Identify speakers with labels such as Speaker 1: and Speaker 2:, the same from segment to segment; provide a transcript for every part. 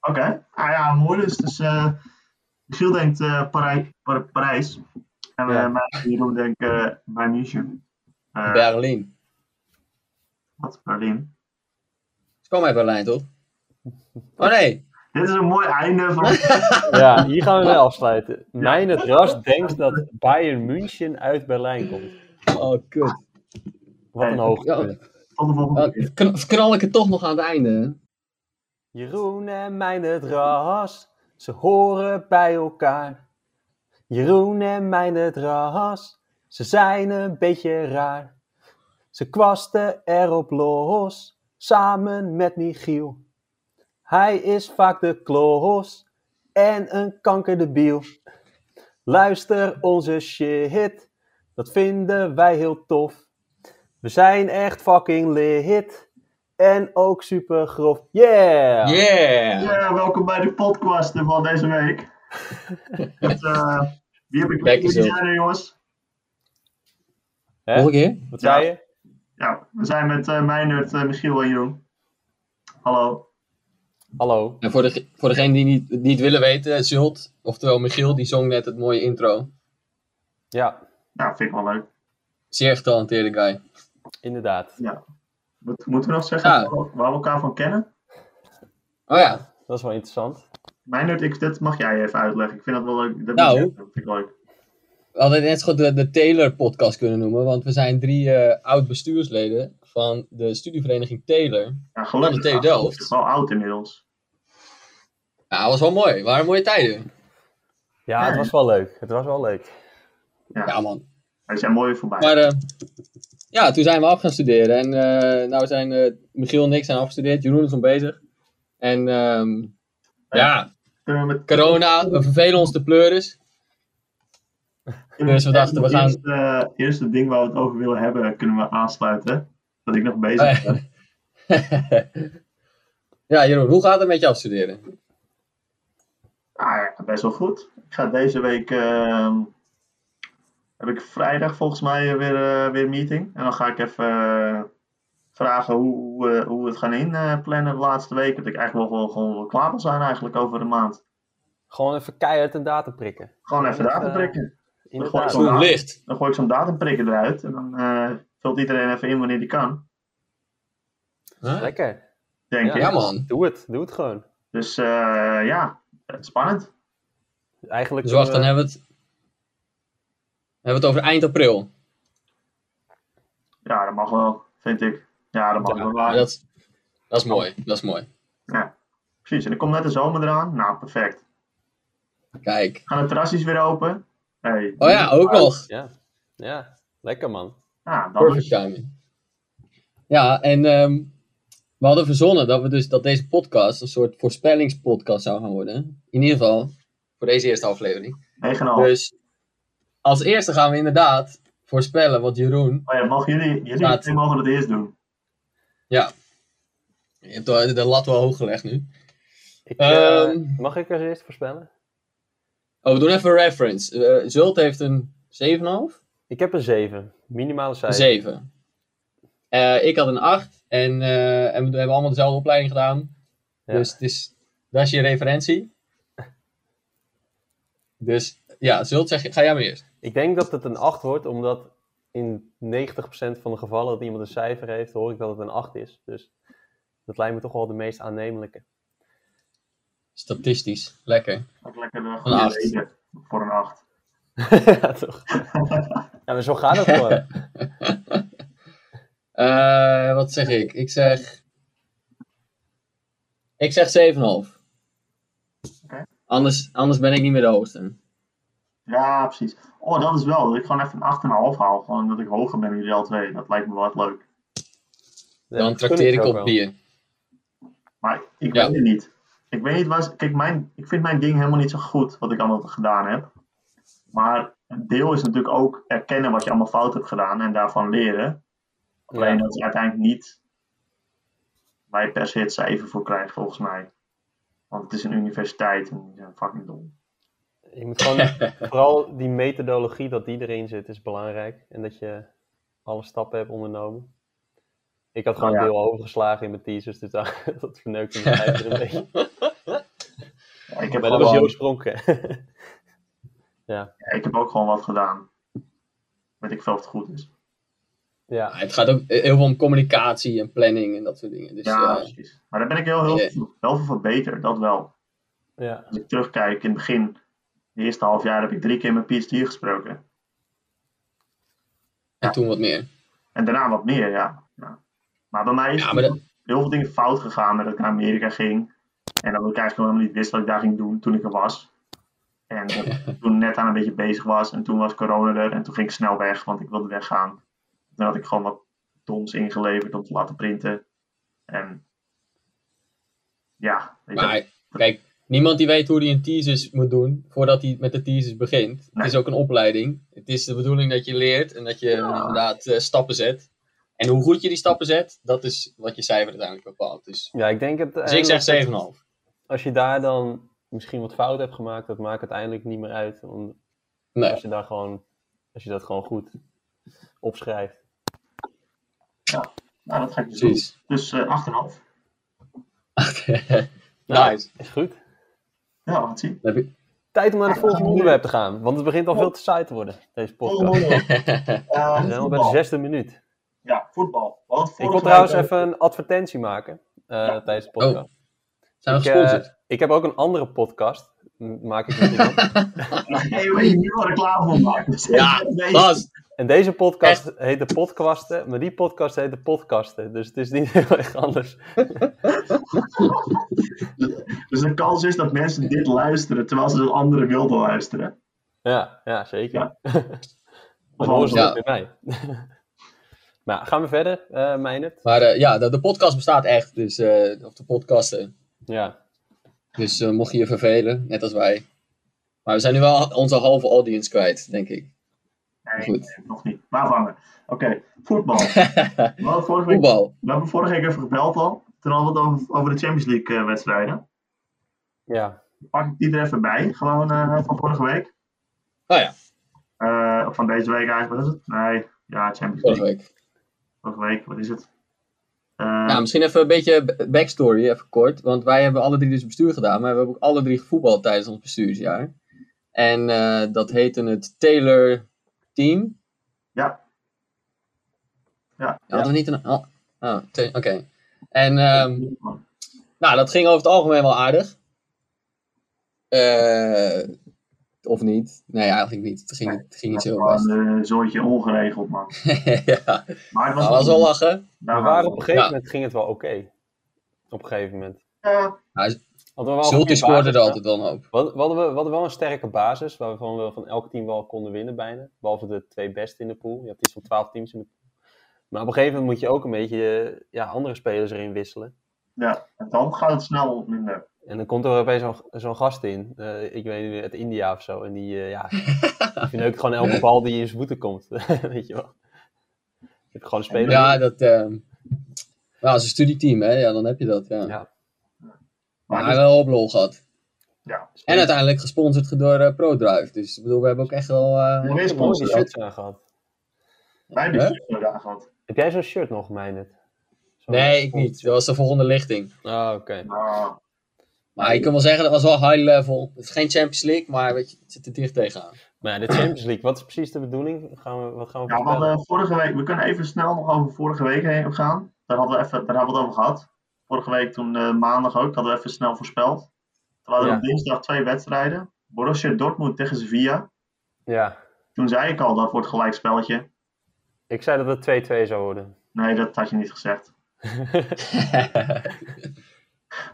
Speaker 1: Oké, ah ja, mooi dus. Dus eh, Michiel denkt eh, Parij- Par- Parijs. En
Speaker 2: Ja.
Speaker 1: eh, mijn Jeroen denkt eh bij München. Eh,
Speaker 3: Ah. Berlijn.
Speaker 1: Wat Berlijn.
Speaker 3: Ze komen uit Berlijn, toch? Oh nee.
Speaker 1: Dit is een mooi einde van.
Speaker 2: Ja, hier gaan we mee afsluiten. Mijn het ras denkt dat Bayern München uit Berlijn komt.
Speaker 3: Oh, kut.
Speaker 2: Wat een hoogte.
Speaker 1: Tot de volgende
Speaker 3: Oh,
Speaker 1: keer.
Speaker 3: kn- knal ik het toch nog aan het einde? hè?
Speaker 2: Jeroen en mijn het ras, ze horen bij elkaar. Jeroen en mijn het ras, ze zijn een beetje raar. Ze kwasten erop los, samen met Michiel. Hij is vaak de klos en een kankerdebiel. Luister onze shit, dat vinden wij heel tof. We zijn echt fucking lit en ook super grof. Yeah!
Speaker 3: Yeah!
Speaker 1: Ja, welkom bij de podcast eh, van deze week. Het, eh, wie heb ik
Speaker 3: Kijk
Speaker 1: wie
Speaker 3: eens op.
Speaker 1: zijn er, jongens?
Speaker 2: Hè?
Speaker 3: Nog een keer?
Speaker 2: Wat zei je?
Speaker 1: Ja, we zijn met eh Meijnerd, eh, Michiel en Jeroen. Hallo.
Speaker 2: Hallo.
Speaker 3: En voor, de, voor degenen die niet, niet willen weten, Zult, oftewel Michiel, die zong net het mooie intro.
Speaker 2: Ja,
Speaker 1: Ja, vind ik wel leuk.
Speaker 3: Zeer getalenteerde guy.
Speaker 2: inderdaad.
Speaker 1: Wat moeten we nog zeggen
Speaker 3: Ja.
Speaker 1: waar we elkaar van kennen?
Speaker 3: Oh ja,
Speaker 2: Dat is wel interessant.
Speaker 1: Meijnerd, ik, dit mag jij even uitleggen. Ik vind dat wel leuk. Dat
Speaker 3: Nou.
Speaker 1: moet- dat vind ik leuk.
Speaker 3: we hadden net zo goed de, de Taylor-podcast kunnen noemen, want we zijn drie oud-bestuursleden van de studievereniging Taylor.
Speaker 1: Ja,
Speaker 3: Van de
Speaker 1: gelukkig.
Speaker 3: TU Nou, Delft.
Speaker 1: Het is wel oud inmiddels.
Speaker 3: Nou, dat was wel mooi. Waren mooie tijden.
Speaker 2: Ja, het was wel leuk. Het was wel leuk.
Speaker 3: Ja, man.
Speaker 1: Wij zijn mooi voorbij.
Speaker 3: Maar eh, ja, toen zijn we af gaan studeren. En eh, nou zijn eh, Michiel en ik zijn afgestudeerd. Jeroen is nog bezig. En ehm, ja,
Speaker 1: Kunnen we met-
Speaker 3: corona, we vervelen ons de pleuris.
Speaker 1: kunnen
Speaker 3: dus we dachten, we
Speaker 1: het
Speaker 3: gaan-
Speaker 1: eerste, eerste ding waar we het over willen hebben, kunnen we aansluiten. Dat ik nog
Speaker 3: Ah,
Speaker 1: bezig ben.
Speaker 3: ja, Jeroen, hoe gaat het met je afstuderen?
Speaker 1: Ah, ja, gaat best wel goed. Ik ga deze week. ehm, heb ik vrijdag volgens mij eh, weer, eh, weer een meeting. En dan ga ik even eh, vragen hoe, hoe, eh, hoe we het gaan inplannen de laatste week. Dat ik eigenlijk wel, wel, gewoon wel klaar wil zijn eigenlijk over de maand.
Speaker 2: Gewoon even keihard een datum prikken.
Speaker 1: Gewoon even
Speaker 2: Dat,
Speaker 1: datum
Speaker 2: eh,
Speaker 1: prikken.
Speaker 2: Inderdaad.
Speaker 1: Goed.
Speaker 3: Groen licht.
Speaker 1: Dan gooi ik zo'n datum prikken eruit. En dan eh, vult iedereen even in wanneer die kan.
Speaker 2: Lekker.
Speaker 1: Denk
Speaker 2: Ja.
Speaker 1: ik.
Speaker 3: Ja, man.
Speaker 2: Doe het. Doe het gewoon.
Speaker 1: Dus eh, ja, spannend.
Speaker 2: Eigenlijk
Speaker 3: Dus wacht, dan
Speaker 2: kunnen
Speaker 3: hebben we het. Hebben we het over eind april?
Speaker 1: Ja, dat mag wel, vind ik. Ja, dat mag wel.
Speaker 3: Ja, dat, is- dat is mooi. Dat is mooi.
Speaker 1: Ja, precies. En dan komt net de zomer eraan. Nou, perfect.
Speaker 3: Kijk.
Speaker 1: Gaan de terrasjes weer open? Hey.
Speaker 3: Oh ja, ook nog.
Speaker 2: we- Ja. ja, lekker man.
Speaker 1: Ja, dan
Speaker 3: Perfect
Speaker 1: is...
Speaker 3: timing. Ja, en ehm, we hadden verzonnen dat, we dus, dat deze podcast een soort voorspellingspodcast zou gaan worden. In ieder geval voor deze eerste aflevering.
Speaker 1: 9 al.
Speaker 3: Dus als eerste gaan we inderdaad voorspellen wat Jeroen.
Speaker 1: Oh ja, mogen jullie, jullie
Speaker 3: Laat.
Speaker 1: twee mogen het eerst doen.
Speaker 3: Ja. Je hebt de de lat wel hoog gelegd nu.
Speaker 2: Ik, eh,
Speaker 3: Ehm.
Speaker 2: mag ik als eerst voorspellen?
Speaker 3: Oh, we doen even een reference. Eh, Zult heeft een 7,5?
Speaker 2: Ik heb een 7. Minimale
Speaker 3: Een
Speaker 2: cijfer.
Speaker 3: 7. Eh, ik had een 8 en, eh, en we hebben allemaal dezelfde opleiding gedaan.
Speaker 2: Ja.
Speaker 3: Dus het is, dat is je referentie. Dus ja, Zult, zeg, ga jij maar eerst.
Speaker 2: Ik denk dat het een 8 wordt, omdat in 90% van de gevallen dat iemand een cijfer heeft, hoor ik dat het een 8 is. Dus dat lijkt me toch wel de meest aannemelijke.
Speaker 3: Statistisch, lekker.
Speaker 1: Ook lekker een
Speaker 3: Een
Speaker 1: goede
Speaker 3: acht.
Speaker 1: reden voor een 8.
Speaker 2: ja, toch? ja, maar zo gaat het gewoon.
Speaker 3: Eh, wat zeg ik? Ik zeg... Ik zeg 7,5.
Speaker 1: Oké.
Speaker 3: Anders, anders ben ik niet meer de hoogste.
Speaker 1: Ja, precies. Oh, dat is wel. Dat ik gewoon even een 8,5 haal. Gewoon dat ik hoger ben dan jullie al twee. Dat lijkt me wel echt leuk.
Speaker 2: Ja,
Speaker 3: Dan
Speaker 2: dat gun
Speaker 3: trakteer
Speaker 2: je
Speaker 3: ik
Speaker 2: ook
Speaker 3: op
Speaker 2: wel.
Speaker 3: bier.
Speaker 1: Maar ik
Speaker 3: Ja.
Speaker 1: weet het niet. Ik weet niet waar... Kijk, mijn, ik vind mijn ding helemaal niet zo goed. Wat ik allemaal gedaan heb. Maar een deel is natuurlijk ook erkennen wat je allemaal fout hebt gedaan. En daarvan leren. Alleen
Speaker 2: Ja.
Speaker 1: dat je uiteindelijk niet... Waar je per se het cijfer voor krijgt, volgens mij. Want het is een universiteit. En die zijn fucking dom.
Speaker 2: Je moet gewoon, vooral die methodologie dat die erin zit, is belangrijk. En dat je alle stappen hebt ondernomen. Ik had gewoon
Speaker 1: Oh, ja.
Speaker 2: een deel overgeslagen in mijn thesis, dus dat, dat verneukt me eigenlijk een beetje.
Speaker 1: Ik heb,
Speaker 2: Maar dat was
Speaker 1: gewoon-
Speaker 2: Joost Spronken.
Speaker 1: ja, ik heb ook gewoon wat gedaan. Weet ik veel of het goed is.
Speaker 2: ja.
Speaker 3: Ja, het gaat ook heel veel om communicatie en planning en dat soort dingen. Dus,
Speaker 1: Ja,
Speaker 3: ja,
Speaker 1: precies. Maar daar ben ik heel, heel, heel veel van beter, dat wel.
Speaker 2: ja.
Speaker 1: Als ik terugkijk in het begin, de eerste half jaar heb ik drie keer mijn PhD gesproken.
Speaker 3: en toen wat meer.
Speaker 1: En daarna wat meer, ja. ja. Maar bij mij is
Speaker 3: Ja, maar dat,
Speaker 1: heel veel dingen fout gegaan met dat ik naar Amerika ging. En dat ik eigenlijk helemaal niet wist wat ik daar ging doen toen ik er was. En dat ik toen net aan een beetje bezig was. En toen was corona er. En toen ging ik snel weg, want ik wilde weggaan. Toen had ik gewoon wat doms ingeleverd om te laten printen. En ja, weet je,
Speaker 3: maar kijk, niemand die weet hoe hij een thesis moet doen voordat hij met de thesis begint.
Speaker 1: Nee.
Speaker 3: Het is ook een opleiding. Het is de bedoeling dat je leert en dat je
Speaker 1: Ja.
Speaker 3: inderdaad eh, stappen zet. En hoe goed je die stappen zet, dat is wat je cijfer uiteindelijk bepaalt. Dus,
Speaker 2: ja, ik denk het.
Speaker 3: dus ik
Speaker 2: uiteindelijk-
Speaker 3: zeg 7,5.
Speaker 2: Als je daar dan misschien wat fout hebt gemaakt, dat maakt uiteindelijk niet meer uit. Want
Speaker 3: Nee.
Speaker 2: als, je daar gewoon, als je dat gewoon goed opschrijft.
Speaker 1: nou, dat ga ik dus doen.
Speaker 3: Precies.
Speaker 1: Dus eh 8,5.
Speaker 3: nice.
Speaker 2: Is goed.
Speaker 1: Ja, wat zie.
Speaker 3: Nou, Dan heb je-
Speaker 2: Tijd om naar het volgende onderwerp te gaan, want het begint al veel te saai te worden, deze podcast. We zijn al bij de zesde minuut.
Speaker 1: Ja, voetbal. Want
Speaker 2: Ik
Speaker 1: vorige
Speaker 2: wil trouwens
Speaker 1: week-
Speaker 2: even een advertentie maken eh, tijdens de
Speaker 3: Oh,
Speaker 2: podcast.
Speaker 3: Zijn we
Speaker 2: ik, eh,
Speaker 3: gesponsord?
Speaker 2: ik heb ook een andere podcast. M- Maak ik met iemand.
Speaker 1: Nee, weet je, nu al reclame voor maken.
Speaker 3: Ja,
Speaker 1: Nee.
Speaker 3: Gast,
Speaker 2: en deze podcast heet de podcasten, maar die podcast heet de podcasten. Dus het is niet heel erg anders.
Speaker 1: Dus de kans is dat mensen dit luisteren terwijl ze de andere wilden luisteren.
Speaker 2: Ja, ja zeker.
Speaker 1: Ja.
Speaker 2: Dan horen ze
Speaker 3: Ja.
Speaker 2: dat weer bij. maar gaan we verder, eh Meinert?
Speaker 3: Maar eh, ja, de, de podcast bestaat echt. Dus, eh, of de podcasten.
Speaker 2: Ja,
Speaker 3: Dus eh, mocht je je vervelen, net als wij. Maar we zijn nu wel onze halve audience kwijt, denk ik.
Speaker 1: Nee,
Speaker 3: Goed.
Speaker 1: nee, nog niet. Maar vangen. Oké, voetbal. We hadden vorige week,
Speaker 3: Voetbal.
Speaker 1: we hebben vorige week even gebeld al. Toen hadden we het over, over de Champions League eh, wedstrijden.
Speaker 2: ja.
Speaker 1: Pak ik die er even bij, gewoon eh, van vorige week.
Speaker 3: Oh ja,
Speaker 1: Eh, of van deze week eigenlijk, wat is het? Nee, ja, Champions
Speaker 3: vorige
Speaker 1: League.
Speaker 3: week.
Speaker 1: Vorige week, wat is het? Eh,
Speaker 3: Nou, misschien even een beetje b- backstory, even kort. Want wij hebben alle drie dus bestuur gedaan. Maar we hebben ook alle drie gevoetbald tijdens ons bestuursjaar. En eh, dat heette het Taylor Team.
Speaker 1: ja. Ja.
Speaker 3: Ja, Hadden we niet een... Oh, oh, Ta- oké. En... ehm, Nou, dat ging over het algemeen wel aardig. Eh, of niet? Nee, eigenlijk niet. Het ging, niet- het ging niet zo
Speaker 1: Gewoon
Speaker 3: best.
Speaker 1: een zoontje ongeregeld, man.
Speaker 3: ja,
Speaker 1: Maar het was,
Speaker 3: dat was wel lachen.
Speaker 1: Daar
Speaker 2: Maar
Speaker 1: waren
Speaker 2: waar
Speaker 1: we.
Speaker 2: op een gegeven
Speaker 3: Ja.
Speaker 2: moment ging het wel oké. Op een gegeven moment.
Speaker 1: Ja,
Speaker 2: Want we waren wel
Speaker 3: Zulte
Speaker 2: een goede
Speaker 3: scoorde
Speaker 2: basis,
Speaker 3: er altijd wel een hoop.
Speaker 2: We hadden, we, hadden, we hadden wel een sterke basis, waarvan we van elk team wel konden winnen bijna. Behalve de twee beste in de pool. Je had iets van twaalf teams in de pool. Maar op een gegeven moment moet je ook een beetje eh, ja, andere spelers erin wisselen.
Speaker 1: ja, en dan gaat het snel minder.
Speaker 2: En dan komt er opeens zo'n zo'n gast in, eh, ik weet niet, uit India of zo. En die, eh ja, die verneukt gewoon elke bal die in zijn voeten komt. weet je wel. Je hebt gewoon een speler.
Speaker 3: Ja, dat... ehm nou, als een studieteam, hè. Ja, dan heb je dat, ja.
Speaker 2: Ja.
Speaker 1: Maar
Speaker 3: Maar
Speaker 1: dus-
Speaker 3: wel op lol gehad.
Speaker 1: ja.
Speaker 3: En uiteindelijk gesponsord door eh, ProDrive. Dus ik bedoel, we hebben ook echt wel... eh,
Speaker 1: Er is
Speaker 2: heb nooit die
Speaker 1: sponsor.
Speaker 2: shirts aan gehad.
Speaker 1: Wij hebben
Speaker 3: Hè?
Speaker 1: die shirts daar gehad.
Speaker 2: Heb jij zo'n shirt nog, Meijnet? Zo'n-
Speaker 3: Nee, ik niet. Dat was de volgende lichting.
Speaker 2: Ah, oké.
Speaker 1: Nou,
Speaker 3: Maar ik kan wel zeggen, dat was wel high level. Het is geen Champions League, maar weet je, het zit er dicht tegenaan.
Speaker 2: Maar ja, de Champions League, wat is precies de bedoeling? Gaan we, wat gaan we
Speaker 1: ja, we
Speaker 2: vertellen?
Speaker 1: hadden vorige week, we kunnen even snel nog over vorige week heen gaan. Daar hadden we, even, daar hebben we het over gehad. Vorige week, toen eh, maandag ook, hadden we even snel voorspeld. Toen hadden we
Speaker 2: Ja.
Speaker 1: op dinsdag twee wedstrijden. Borussia Dortmund tegen Sevilla.
Speaker 2: Ja.
Speaker 1: Toen zei ik al, dat wordt gelijk spelletje.
Speaker 2: Ik zei dat het 2-2 zou worden.
Speaker 1: Nee, dat had je niet gezegd.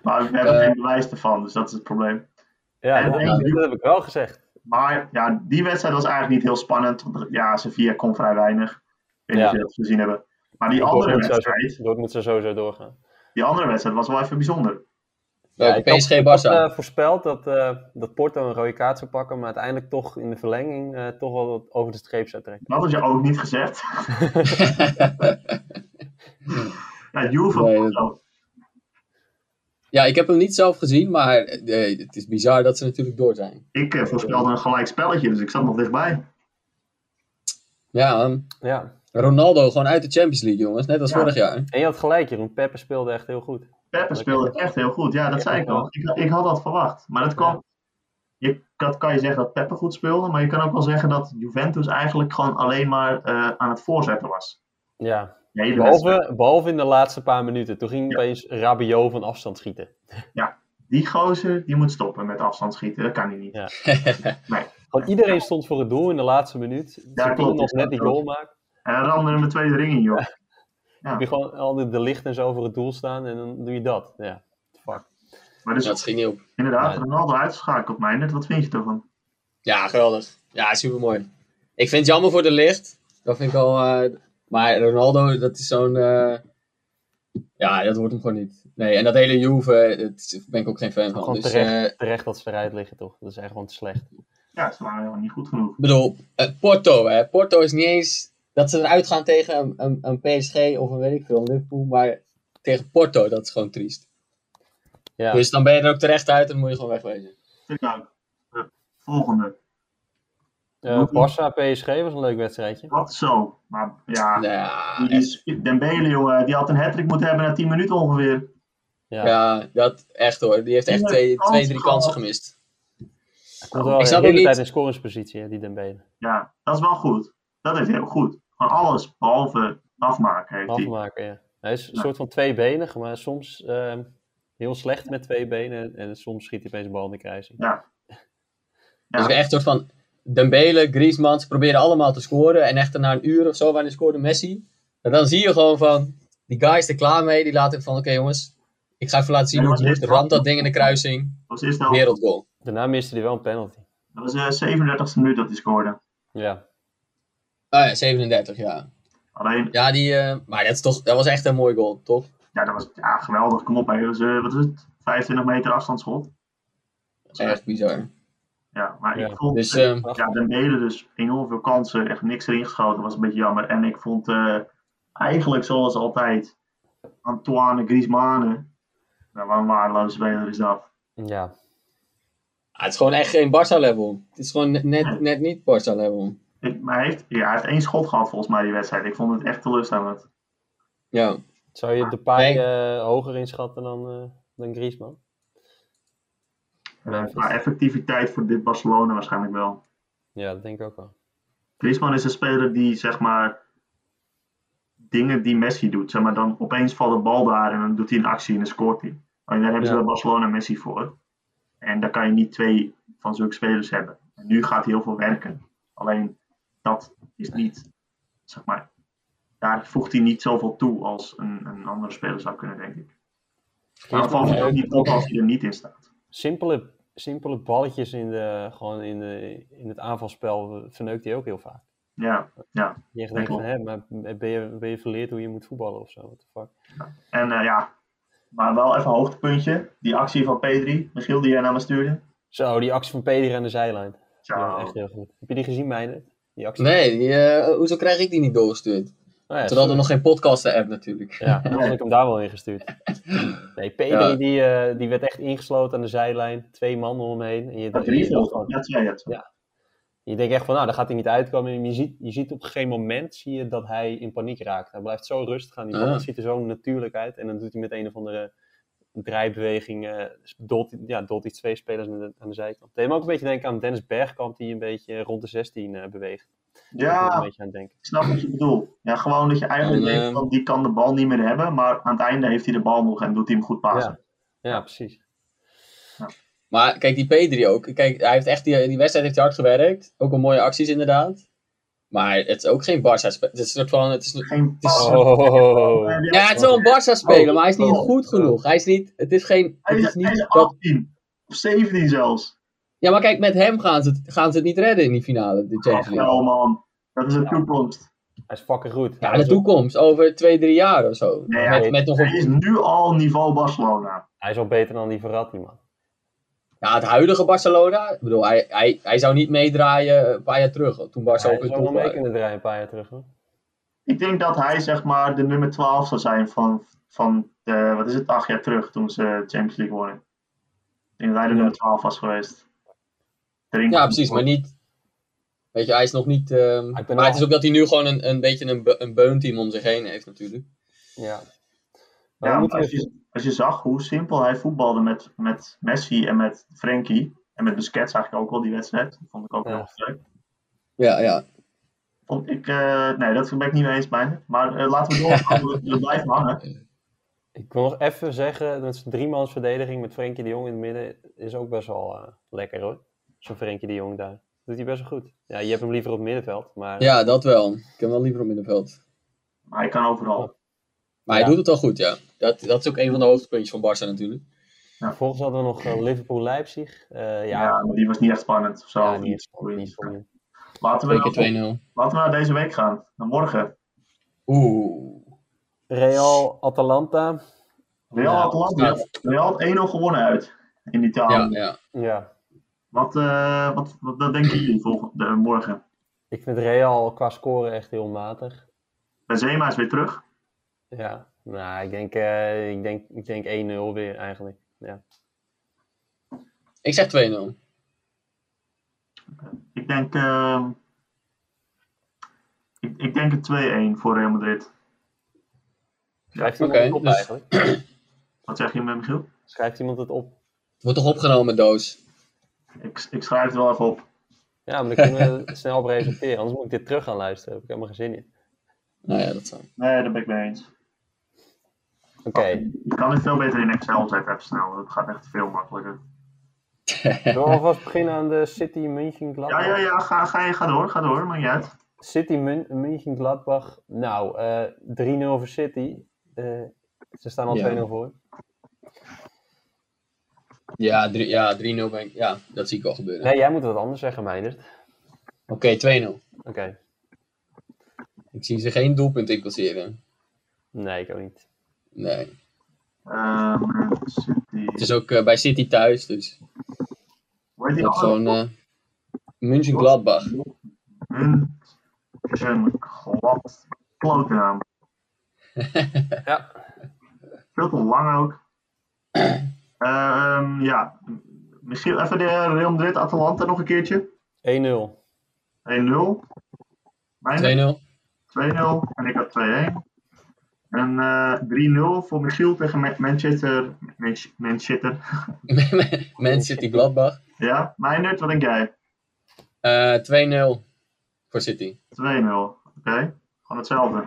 Speaker 1: Maar we hebben
Speaker 3: Eh.
Speaker 1: geen bewijs ervan, dus dat is het probleem.
Speaker 2: ja,
Speaker 1: En
Speaker 2: dat,
Speaker 1: dan-
Speaker 2: dat heb ik wel gezegd.
Speaker 1: Maar ja, die wedstrijd was eigenlijk niet heel spannend. Want er- ja, Sevilla kon vrij weinig. Ik weet niet
Speaker 2: Ja.
Speaker 1: of jullie dat gezien hebben. Maar die andere,
Speaker 2: Dortmund zou-
Speaker 1: wedstrijd,
Speaker 2: Dortmund zou sowieso doorgaan.
Speaker 1: die andere wedstrijd was wel even bijzonder.
Speaker 3: Welke
Speaker 2: ik had-
Speaker 3: PSG
Speaker 2: ik had,
Speaker 3: Barça.
Speaker 2: eh, voorspeld dat, eh, dat Porto een rode kaart zou pakken, maar uiteindelijk toch in de verlenging eh, toch wel wat over de streep zou trekken.
Speaker 1: Dat had je ook niet gezegd. ja, Juve.
Speaker 3: Nee, dat-
Speaker 1: Porto.
Speaker 3: Ja, ik heb hem niet zelf gezien, maar eh, het is bizar dat ze natuurlijk door zijn.
Speaker 1: Ik eh, voorspelde een gelijk spelletje, dus ik zat nog dichtbij.
Speaker 3: Ja, ehm,
Speaker 2: Ja.
Speaker 3: Ronaldo gewoon uit de Champions League, jongens, net als
Speaker 1: Ja.
Speaker 3: vorig jaar.
Speaker 2: En je had gelijk, Jeroen. Peppe speelde echt heel goed.
Speaker 1: Peppe speelde echt heel goed. Ja, dat zei ik al. Ik, ik had dat verwacht. Maar dat kwam je, dat kan je zeggen dat Peppe goed speelde, maar je kan ook wel zeggen dat Juventus eigenlijk gewoon alleen maar eh, aan het voorzetten was.
Speaker 2: Ja.
Speaker 1: De hele wedstrijd.
Speaker 2: Behalve, behalve in de laatste paar minuten. Toen ging
Speaker 1: Ja.
Speaker 2: opeens Rabiot van afstand schieten.
Speaker 1: Die gozer die moet stoppen met afstand schieten, dat kan hij niet.
Speaker 2: Ja. Want iedereen stond voor het doel in de laatste minuut. Ze
Speaker 1: klopt,
Speaker 2: konden nog
Speaker 1: is dat
Speaker 2: net die
Speaker 1: ook.
Speaker 2: goal maken.
Speaker 1: En hij ramde hem de tweede ring in, joh.
Speaker 2: Heb je gewoon al de, de licht en zo voor het doel staan en dan doe je dat. Ja. Fuck.
Speaker 1: Maar dus
Speaker 3: dat ging niet op.
Speaker 1: inderdaad,
Speaker 2: Ja.
Speaker 1: Ronaldo uitgeschakeld, mij net. Wat vind je ervan?
Speaker 3: Ja, geweldig. Ja, supermooi. Ik vind het jammer voor de licht. Dat vind ik al. eh, maar Ronaldo, dat is zo'n. eh, ja, dat wordt hem gewoon niet. Nee, en dat hele Juve, eh, dat- daar ben ik ook geen fan van.
Speaker 2: Gewoon
Speaker 3: Dus eh,
Speaker 2: terecht, terecht dat ze eruit liggen, toch? Dat is echt gewoon te slecht.
Speaker 1: Ja, ze waren helemaal niet goed genoeg.
Speaker 3: Ik bedoel, eh, Porto, hè. Porto is niet eens dat ze eruit gaan tegen een, een, een PSG of een weet ik veel, Liverpool, maar tegen Porto, dat is gewoon triest.
Speaker 2: Ja.
Speaker 3: Dus dan ben je er ook terecht uit en dan moet je gewoon wegwezen.
Speaker 1: Vind ik ook. Eh, Volgende.
Speaker 2: Eh Barça PSG was een leuk wedstrijdje.
Speaker 1: Wat zo. Maar ja,
Speaker 3: Nou ja,
Speaker 1: die
Speaker 3: echt,
Speaker 1: sp- Dembele, jongen, die had een hat moeten hebben na 10 minuten ongeveer.
Speaker 2: Ja.
Speaker 3: ja, dat echt hoor. Die heeft echt
Speaker 1: Die
Speaker 3: twee,
Speaker 1: heeft
Speaker 3: twee, drie
Speaker 1: kansen
Speaker 3: kansen
Speaker 1: gehad.
Speaker 3: gemist.
Speaker 2: Komt wel
Speaker 3: Ik
Speaker 2: de
Speaker 3: snap
Speaker 2: hele
Speaker 3: ook
Speaker 2: tijd
Speaker 3: niet-
Speaker 2: in scoringspositie, hè, die Dembele.
Speaker 1: Ja, dat is wel goed. Dat is heel goed. Gewoon alles, behalve afmaken heeft hij.
Speaker 2: Afmaken, ja. Hij is een soort van tweebenig, maar soms ehm, heel slecht met twee benen. En soms schiet hij opeens een bal in de kruising.
Speaker 1: Ja.
Speaker 3: Dus we echt soort van Dembele, Griezmann, ze proberen allemaal te scoren. En echt na een uur of zo, wanneer scoorde Messi. En dan zie je gewoon van, die guy is er klaar mee. Die laat hem van, oké jongens, ik ga even laten zien
Speaker 1: Ja,
Speaker 3: hoe
Speaker 1: maar
Speaker 3: het moet.
Speaker 1: dit-
Speaker 3: Ramt dat ding in de kruising,
Speaker 1: Dat was eerst wel,
Speaker 3: wereldgoal.
Speaker 2: Daarna miste hij wel een penalty.
Speaker 1: dat was de 37 e minuut dat hij scoorde.
Speaker 2: Ja.
Speaker 3: Ah ja, 37, ja.
Speaker 1: Alleen,
Speaker 3: Ja, die, eh, maar dat, is toch, dat was echt een mooi goal, toch?
Speaker 1: ja, dat was ja, geweldig. Kom op, hè. Dat was, eh, wat is het? 25 meter afstandsschot. Dat is echt-
Speaker 3: Echt bizar.
Speaker 1: Ja, maar
Speaker 2: Ja,
Speaker 1: ik vond
Speaker 3: Dus ehm,
Speaker 1: ja, Dembele dus enorm veel kansen, echt niks erin geschoten, was een beetje jammer. En ik vond eh, eigenlijk zoals altijd Antoine Griezmann, nou, wat een waardeloze speler is dat.
Speaker 2: Ja.
Speaker 3: ah, het is gewoon echt geen Barca-level. Het is gewoon net, net niet Barca-level.
Speaker 1: Ik, maar hij heeft, ja, hij heeft één schot gehad volgens mij die wedstrijd. Ik vond het echt teleurstellend.
Speaker 3: Ja.
Speaker 2: Zou je de paai eh,
Speaker 3: Nee.
Speaker 2: hoger inschatten dan, eh, dan Griezmann?
Speaker 1: Eh qua effectiviteit voor dit Barcelona waarschijnlijk wel.
Speaker 2: Ja, dat denk ik ook wel.
Speaker 1: Griezmann is een speler die zeg maar dingen die Messi doet. Zeg maar, dan opeens valt de bal daar en dan doet hij een actie en dan scoort hij. Alleen daar hebben ze
Speaker 2: Ja.
Speaker 1: bij Barcelona Messi voor. En daar kan je niet twee van zulke spelers hebben. En nu gaat hij heel veel werken. Alleen dat is niet, zeg maar, daar voegt hij niet zoveel toe als een, een andere speler zou kunnen, denk ik. Maar dan valt
Speaker 2: Griezmann,
Speaker 1: het ook
Speaker 2: eh,
Speaker 1: niet op als hij er niet in staat.
Speaker 2: simpele, simpele balletjes in, de, gewoon in, de, in het aanvalspel eh, verneukt hij ook heel vaak.
Speaker 1: Ja, ja.
Speaker 2: Je
Speaker 1: Dat
Speaker 2: echt denkt van,
Speaker 1: klopt.
Speaker 2: hè, maar ben je, ben je verleerd hoe je moet voetballen of zo? What the fuck?
Speaker 1: En eh, ja, maar wel even een hoogtepuntje. Die actie van P3, Michiel, die jij naar me stuurde.
Speaker 2: Zo, die actie van Pedri aan de zijlijn.
Speaker 1: Zo.
Speaker 2: Ja, echt heel goed. Heb je die gezien, Meijner? Die actie?
Speaker 3: Nee, die, eh, hoezo krijg ik die niet doorgestuurd?
Speaker 2: Nou ja,
Speaker 3: Terwijl
Speaker 2: zo-
Speaker 3: er nog geen podcasten-app natuurlijk.
Speaker 2: Ja, dan had ik hem daar wel in gestuurd. Nee, Pedri
Speaker 3: Ja.
Speaker 2: die, eh, die werd echt ingesloten aan de zijlijn. Twee man om hem heen. En je,
Speaker 1: Dat
Speaker 2: en je
Speaker 1: drie
Speaker 2: dacht
Speaker 1: volgens
Speaker 2: van,
Speaker 1: mij. Dat zei het.
Speaker 2: Ja. Je denkt echt van, nou, daar gaat hij niet uitkomen. En je ziet, je ziet op een gegeven moment zie je dat hij in paniek raakt. Hij blijft zo rustig aan die bal.
Speaker 3: Ja.
Speaker 2: Het ziet er zo natuurlijk uit. En dan doet hij met een of andere draaibeweging... eh dolt, hij- ja, dolt hij twee spelers aan de, aan de zijkant. Het deed me ook een beetje denken aan Dennis Bergkamp... die een beetje rond de 16 eh, beweegt. Daar ben ik een
Speaker 1: Ja,
Speaker 2: beetje aan het denken.
Speaker 1: ik snap wat je bedoelt. Ja, gewoon dat je eigenlijk
Speaker 3: En,
Speaker 1: denkt,
Speaker 3: ehm,
Speaker 1: van, die kan de bal niet meer hebben, maar aan het einde heeft hij de bal nog en doet hij hem goed passen.
Speaker 2: Ja, precies.
Speaker 3: Maar kijk, die Pedri ook. Kijk, hij heeft echt die, die wedstrijd heeft hij hard gewerkt. Ook al mooie acties inderdaad. Maar het is ook geen Barca-speler. Het is een soort van... Het is, een-
Speaker 1: Geen
Speaker 3: is-
Speaker 1: pas.
Speaker 2: Oh,
Speaker 3: ja, het is wel een Barca-speler, maar hij is niet
Speaker 1: Oh.
Speaker 3: goed genoeg. Hij is niet... Het is geen...
Speaker 1: Hij
Speaker 3: Het
Speaker 1: is,
Speaker 3: is
Speaker 1: hij
Speaker 3: niet
Speaker 1: is
Speaker 3: dat
Speaker 1: 18 of 17 zelfs.
Speaker 3: Ja, maar kijk, met hem gaan ze het, gaan ze het niet redden in die finale, de Champions
Speaker 1: Ach, nou. wel
Speaker 3: League.
Speaker 1: man, dat is de
Speaker 2: Ja.
Speaker 1: toekomst.
Speaker 2: hij is fucking goed.
Speaker 3: Ja,
Speaker 2: Hij
Speaker 3: de
Speaker 2: is ook-
Speaker 3: toekomst, over twee, drie jaar of zo.
Speaker 1: Nee, ja,
Speaker 3: met, met nog
Speaker 1: Hij
Speaker 3: een,
Speaker 1: is nu al niveau Barcelona.
Speaker 2: Hij is al beter dan die Verratti, man.
Speaker 3: ja, het huidige Barcelona, ik bedoel, hij, hij, hij zou niet meedraaien een paar jaar terug, toen Barca
Speaker 2: Hij
Speaker 3: ook in
Speaker 2: zou
Speaker 3: top
Speaker 2: nog mee
Speaker 3: waren.
Speaker 2: kunnen draaien een paar jaar terug, hoor.
Speaker 1: Ik denk dat hij zeg maar de nummer 12 zou zijn van, van eh, wat is het, acht jaar terug toen ze Champions League wonnen. Ik denk dat hij de nummer 12 was geweest. Drink-
Speaker 3: Ja, precies, maar niet... Weet je, hij is nog niet... ehm,
Speaker 2: ben
Speaker 3: maar
Speaker 2: wel-
Speaker 3: het is ook dat hij nu gewoon een, een beetje een, be- een beunteam om zich heen heeft natuurlijk.
Speaker 2: Ja. Maar
Speaker 1: Ja,
Speaker 2: we
Speaker 1: maar
Speaker 2: moeten
Speaker 1: als,
Speaker 2: even-
Speaker 1: je, als je zag hoe simpel hij voetbalde met, met Messi en met Frenkie. En met Busquets eigenlijk ook wel die wedstrijd. Dat vond ik ook
Speaker 2: Ja.
Speaker 1: heel erg leuk.
Speaker 3: Ja, ja.
Speaker 1: Vond ik, eh, nee, dat ben ik niet mee eens bij me. Maar eh, laten we doorgaan, we- we blijven hangen.
Speaker 2: Ik wil nog even zeggen, dat zijn driemans verdediging met Frenkie de Jong in het midden is ook best wel eh, lekker hoor. Zo'n Frenkie de Jong daar. Doet hij best wel goed. Ja, je hebt hem liever op het middenveld, maar
Speaker 3: ja, dat wel. Ik heb hem wel liever op middenveld.
Speaker 1: Maar hij kan overal.
Speaker 3: Maar hij
Speaker 2: Ja.
Speaker 3: doet het al goed, ja. Dat, dat is ook een van de hoogtepuntjes van Barca natuurlijk.
Speaker 2: vervolgens hadden we nog eh, Liverpool-Leipzig. Eh,
Speaker 1: Ja.
Speaker 2: ja, ja,
Speaker 1: maar die was niet echt spannend of zo. Of
Speaker 2: niet,
Speaker 1: iets boeiends.
Speaker 2: niet voor nu.
Speaker 1: Laten we,
Speaker 3: Twee
Speaker 1: naar,
Speaker 3: keer 2-0.
Speaker 1: laten we naar deze week gaan. Naar morgen.
Speaker 3: Oeh.
Speaker 2: Real, Atalanta.
Speaker 1: Real
Speaker 2: Ja,
Speaker 1: Atalanta.
Speaker 3: staat-
Speaker 1: Real had 1-0 gewonnen uit. In Italië.
Speaker 3: Ja, ja.
Speaker 2: Ja,
Speaker 1: Wat, eh, wat, wat, wat denken jullie volgende, eh, morgen?
Speaker 2: ik vind Real qua scoren echt heel matig.
Speaker 1: Benzema is weer terug.
Speaker 2: Ja, nou, ik denk, eh, ik denk, ik denk 1-0 weer eigenlijk. Ja.
Speaker 3: Ik zeg 2-0.
Speaker 1: Ik denk, ehm, ik, ik denk een 2-1 voor Real Madrid.
Speaker 2: Schrijft,
Speaker 3: Oké,
Speaker 2: iemand
Speaker 3: ja.
Speaker 2: het op, eigenlijk?
Speaker 1: Wat zeg je met Michiel?
Speaker 2: Schrijft iemand het op?
Speaker 3: Wordt toch opgenomen, Doos?
Speaker 1: Ik, ik schrijf het wel even op.
Speaker 2: Ja, maar dan kunnen we snel op resulteren. Anders moet ik dit terug gaan luisteren. Daar heb ik helemaal geen zin in.
Speaker 3: Nou ja, dat zou.
Speaker 1: Nee, daar ben ik mee eens.
Speaker 2: Oké,
Speaker 1: Ik kan het veel beter in Excel zetten even snel. Dat gaat echt veel makkelijker.
Speaker 2: zullen we alvast beginnen aan de City München
Speaker 1: Ja,
Speaker 2: Gladbach?
Speaker 1: ja, ja. Ga, ga, je- ga door, ga door. Maakt niet uit.
Speaker 2: City Mun- München Gladbach. Nou, eh 3-0 voor City. Eh, ze staan al
Speaker 3: Ja.
Speaker 2: 2-0 voor.
Speaker 3: Ja, drie- ja 3-0 ben ik. Ja, dat zie ik wel gebeuren.
Speaker 2: Nee, jij moet wat anders zeggen, Meijnerd.
Speaker 3: Oké, 2-0.
Speaker 2: Oké,
Speaker 3: Ik zie ze geen doelpunt incasseren.
Speaker 2: nee, ik ook niet.
Speaker 3: Nee.
Speaker 1: Ehm, City.
Speaker 3: Het is ook eh, bij City thuis, dus.
Speaker 1: Hoe heet die
Speaker 3: Dat is
Speaker 1: andere?
Speaker 3: gewoon. eh München Gladbach.
Speaker 1: Hun- hun glad klote naam.
Speaker 2: Ja,
Speaker 1: Veel te lang ook. Ehm, ja, misschien even de Real Madrid Atalanta nog een keertje. 1-0.
Speaker 2: 1-0.
Speaker 1: Mijn
Speaker 3: 2-0.
Speaker 1: 2-0 en ik had 2-1. En eh 3-0 voor Michiel tegen Ma- Manchester. Man- Manchester.
Speaker 3: Man City Gladbach.
Speaker 1: Ja, Meijnerd, wat denk jij?
Speaker 3: Eh 2-0 voor City.
Speaker 1: 2-0. Oké, gewoon hetzelfde.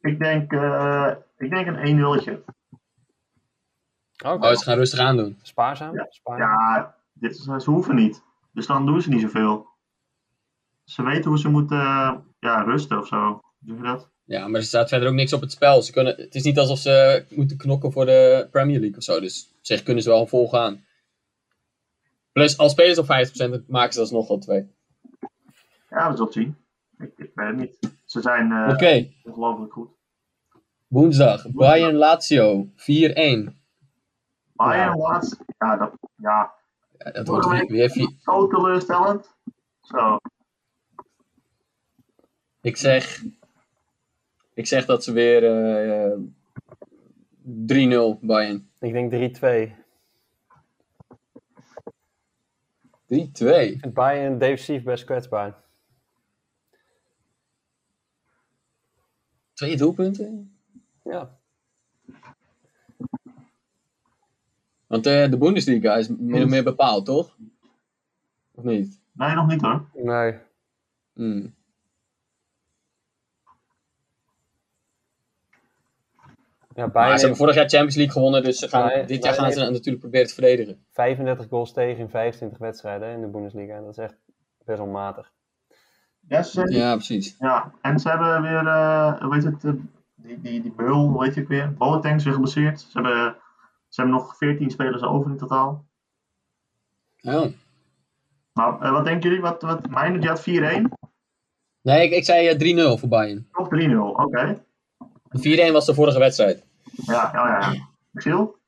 Speaker 1: Ik denk, eh, ik denk een 1-0'tje.
Speaker 2: Oké,
Speaker 3: Oh, ze gaan rustig aandoen.
Speaker 2: spaarzaam. spaarzaam.
Speaker 1: Ja, dit is, ze hoeven niet. Dus dan doen ze niet zoveel. Ze weten hoe ze moeten eh, ja, rusten of zo. Doe je dat?
Speaker 3: Ja, maar er staat verder ook niks op het spel. Ze kunnen, het is niet alsof ze moeten knokken voor de Premier League of zo. Dus op zich kunnen ze wel volgaan. Plus, als spelers op 50% dan maken ze alsnog wel twee.
Speaker 1: Ja, we zullen het zien. Ik, ik weet het niet. Ze zijn eh,
Speaker 3: Oké,
Speaker 1: ongelooflijk goed.
Speaker 3: woensdag. Bayern Lazio 4-1.
Speaker 1: Bayern
Speaker 2: Ja.
Speaker 1: laatst. Ja, dat, ja,
Speaker 3: Ja, dat wordt weer- weer vier.
Speaker 1: zo teleurstellend. Zo.
Speaker 3: Ik zeg, ik zeg dat ze weer eh, eh, 3-0 Bayern.
Speaker 2: Ik denk 3-2.
Speaker 3: 3-2.
Speaker 2: Ik vind Bayern defensief best kwetsbaar.
Speaker 3: Twee doelpunten?
Speaker 2: Ja,
Speaker 3: Want eh, de Bundesliga is min of meer bepaald, toch? Of niet?
Speaker 1: Nee, nog niet hoor.
Speaker 2: nee.
Speaker 3: Hmm.
Speaker 2: Ja,
Speaker 3: Maar ze
Speaker 2: Bayern
Speaker 3: hebben vorig jaar Champions League gewonnen, dus ze gaan,
Speaker 2: Bayern-
Speaker 3: dit jaar gaan
Speaker 2: Bayern-
Speaker 3: ze dan natuurlijk proberen te verdedigen.
Speaker 2: 35 goals tegen in 25 wedstrijden hè, in de Bundesliga. En dat is echt best wel matig.
Speaker 1: Ja, ze zijn, ja.
Speaker 3: Ja, precies.
Speaker 1: en ze hebben weer, eh, hoe weet het, eh, die, die, die beul, hoe heet je het weer? Boateng is weer geblesseerd. Ze hebben, ze hebben nog 14 spelers over in totaal.
Speaker 3: Oh.
Speaker 1: Maar eh, wat denken jullie? Wat, wat, Meijner, die had 4-1
Speaker 3: Nee, ik, ik zei eh, 3-0 voor Bayern.
Speaker 1: of 3-0? Oké.
Speaker 3: 4-1 was de vorige wedstrijd.
Speaker 1: Ja, ja, ja. Michiel? Oké,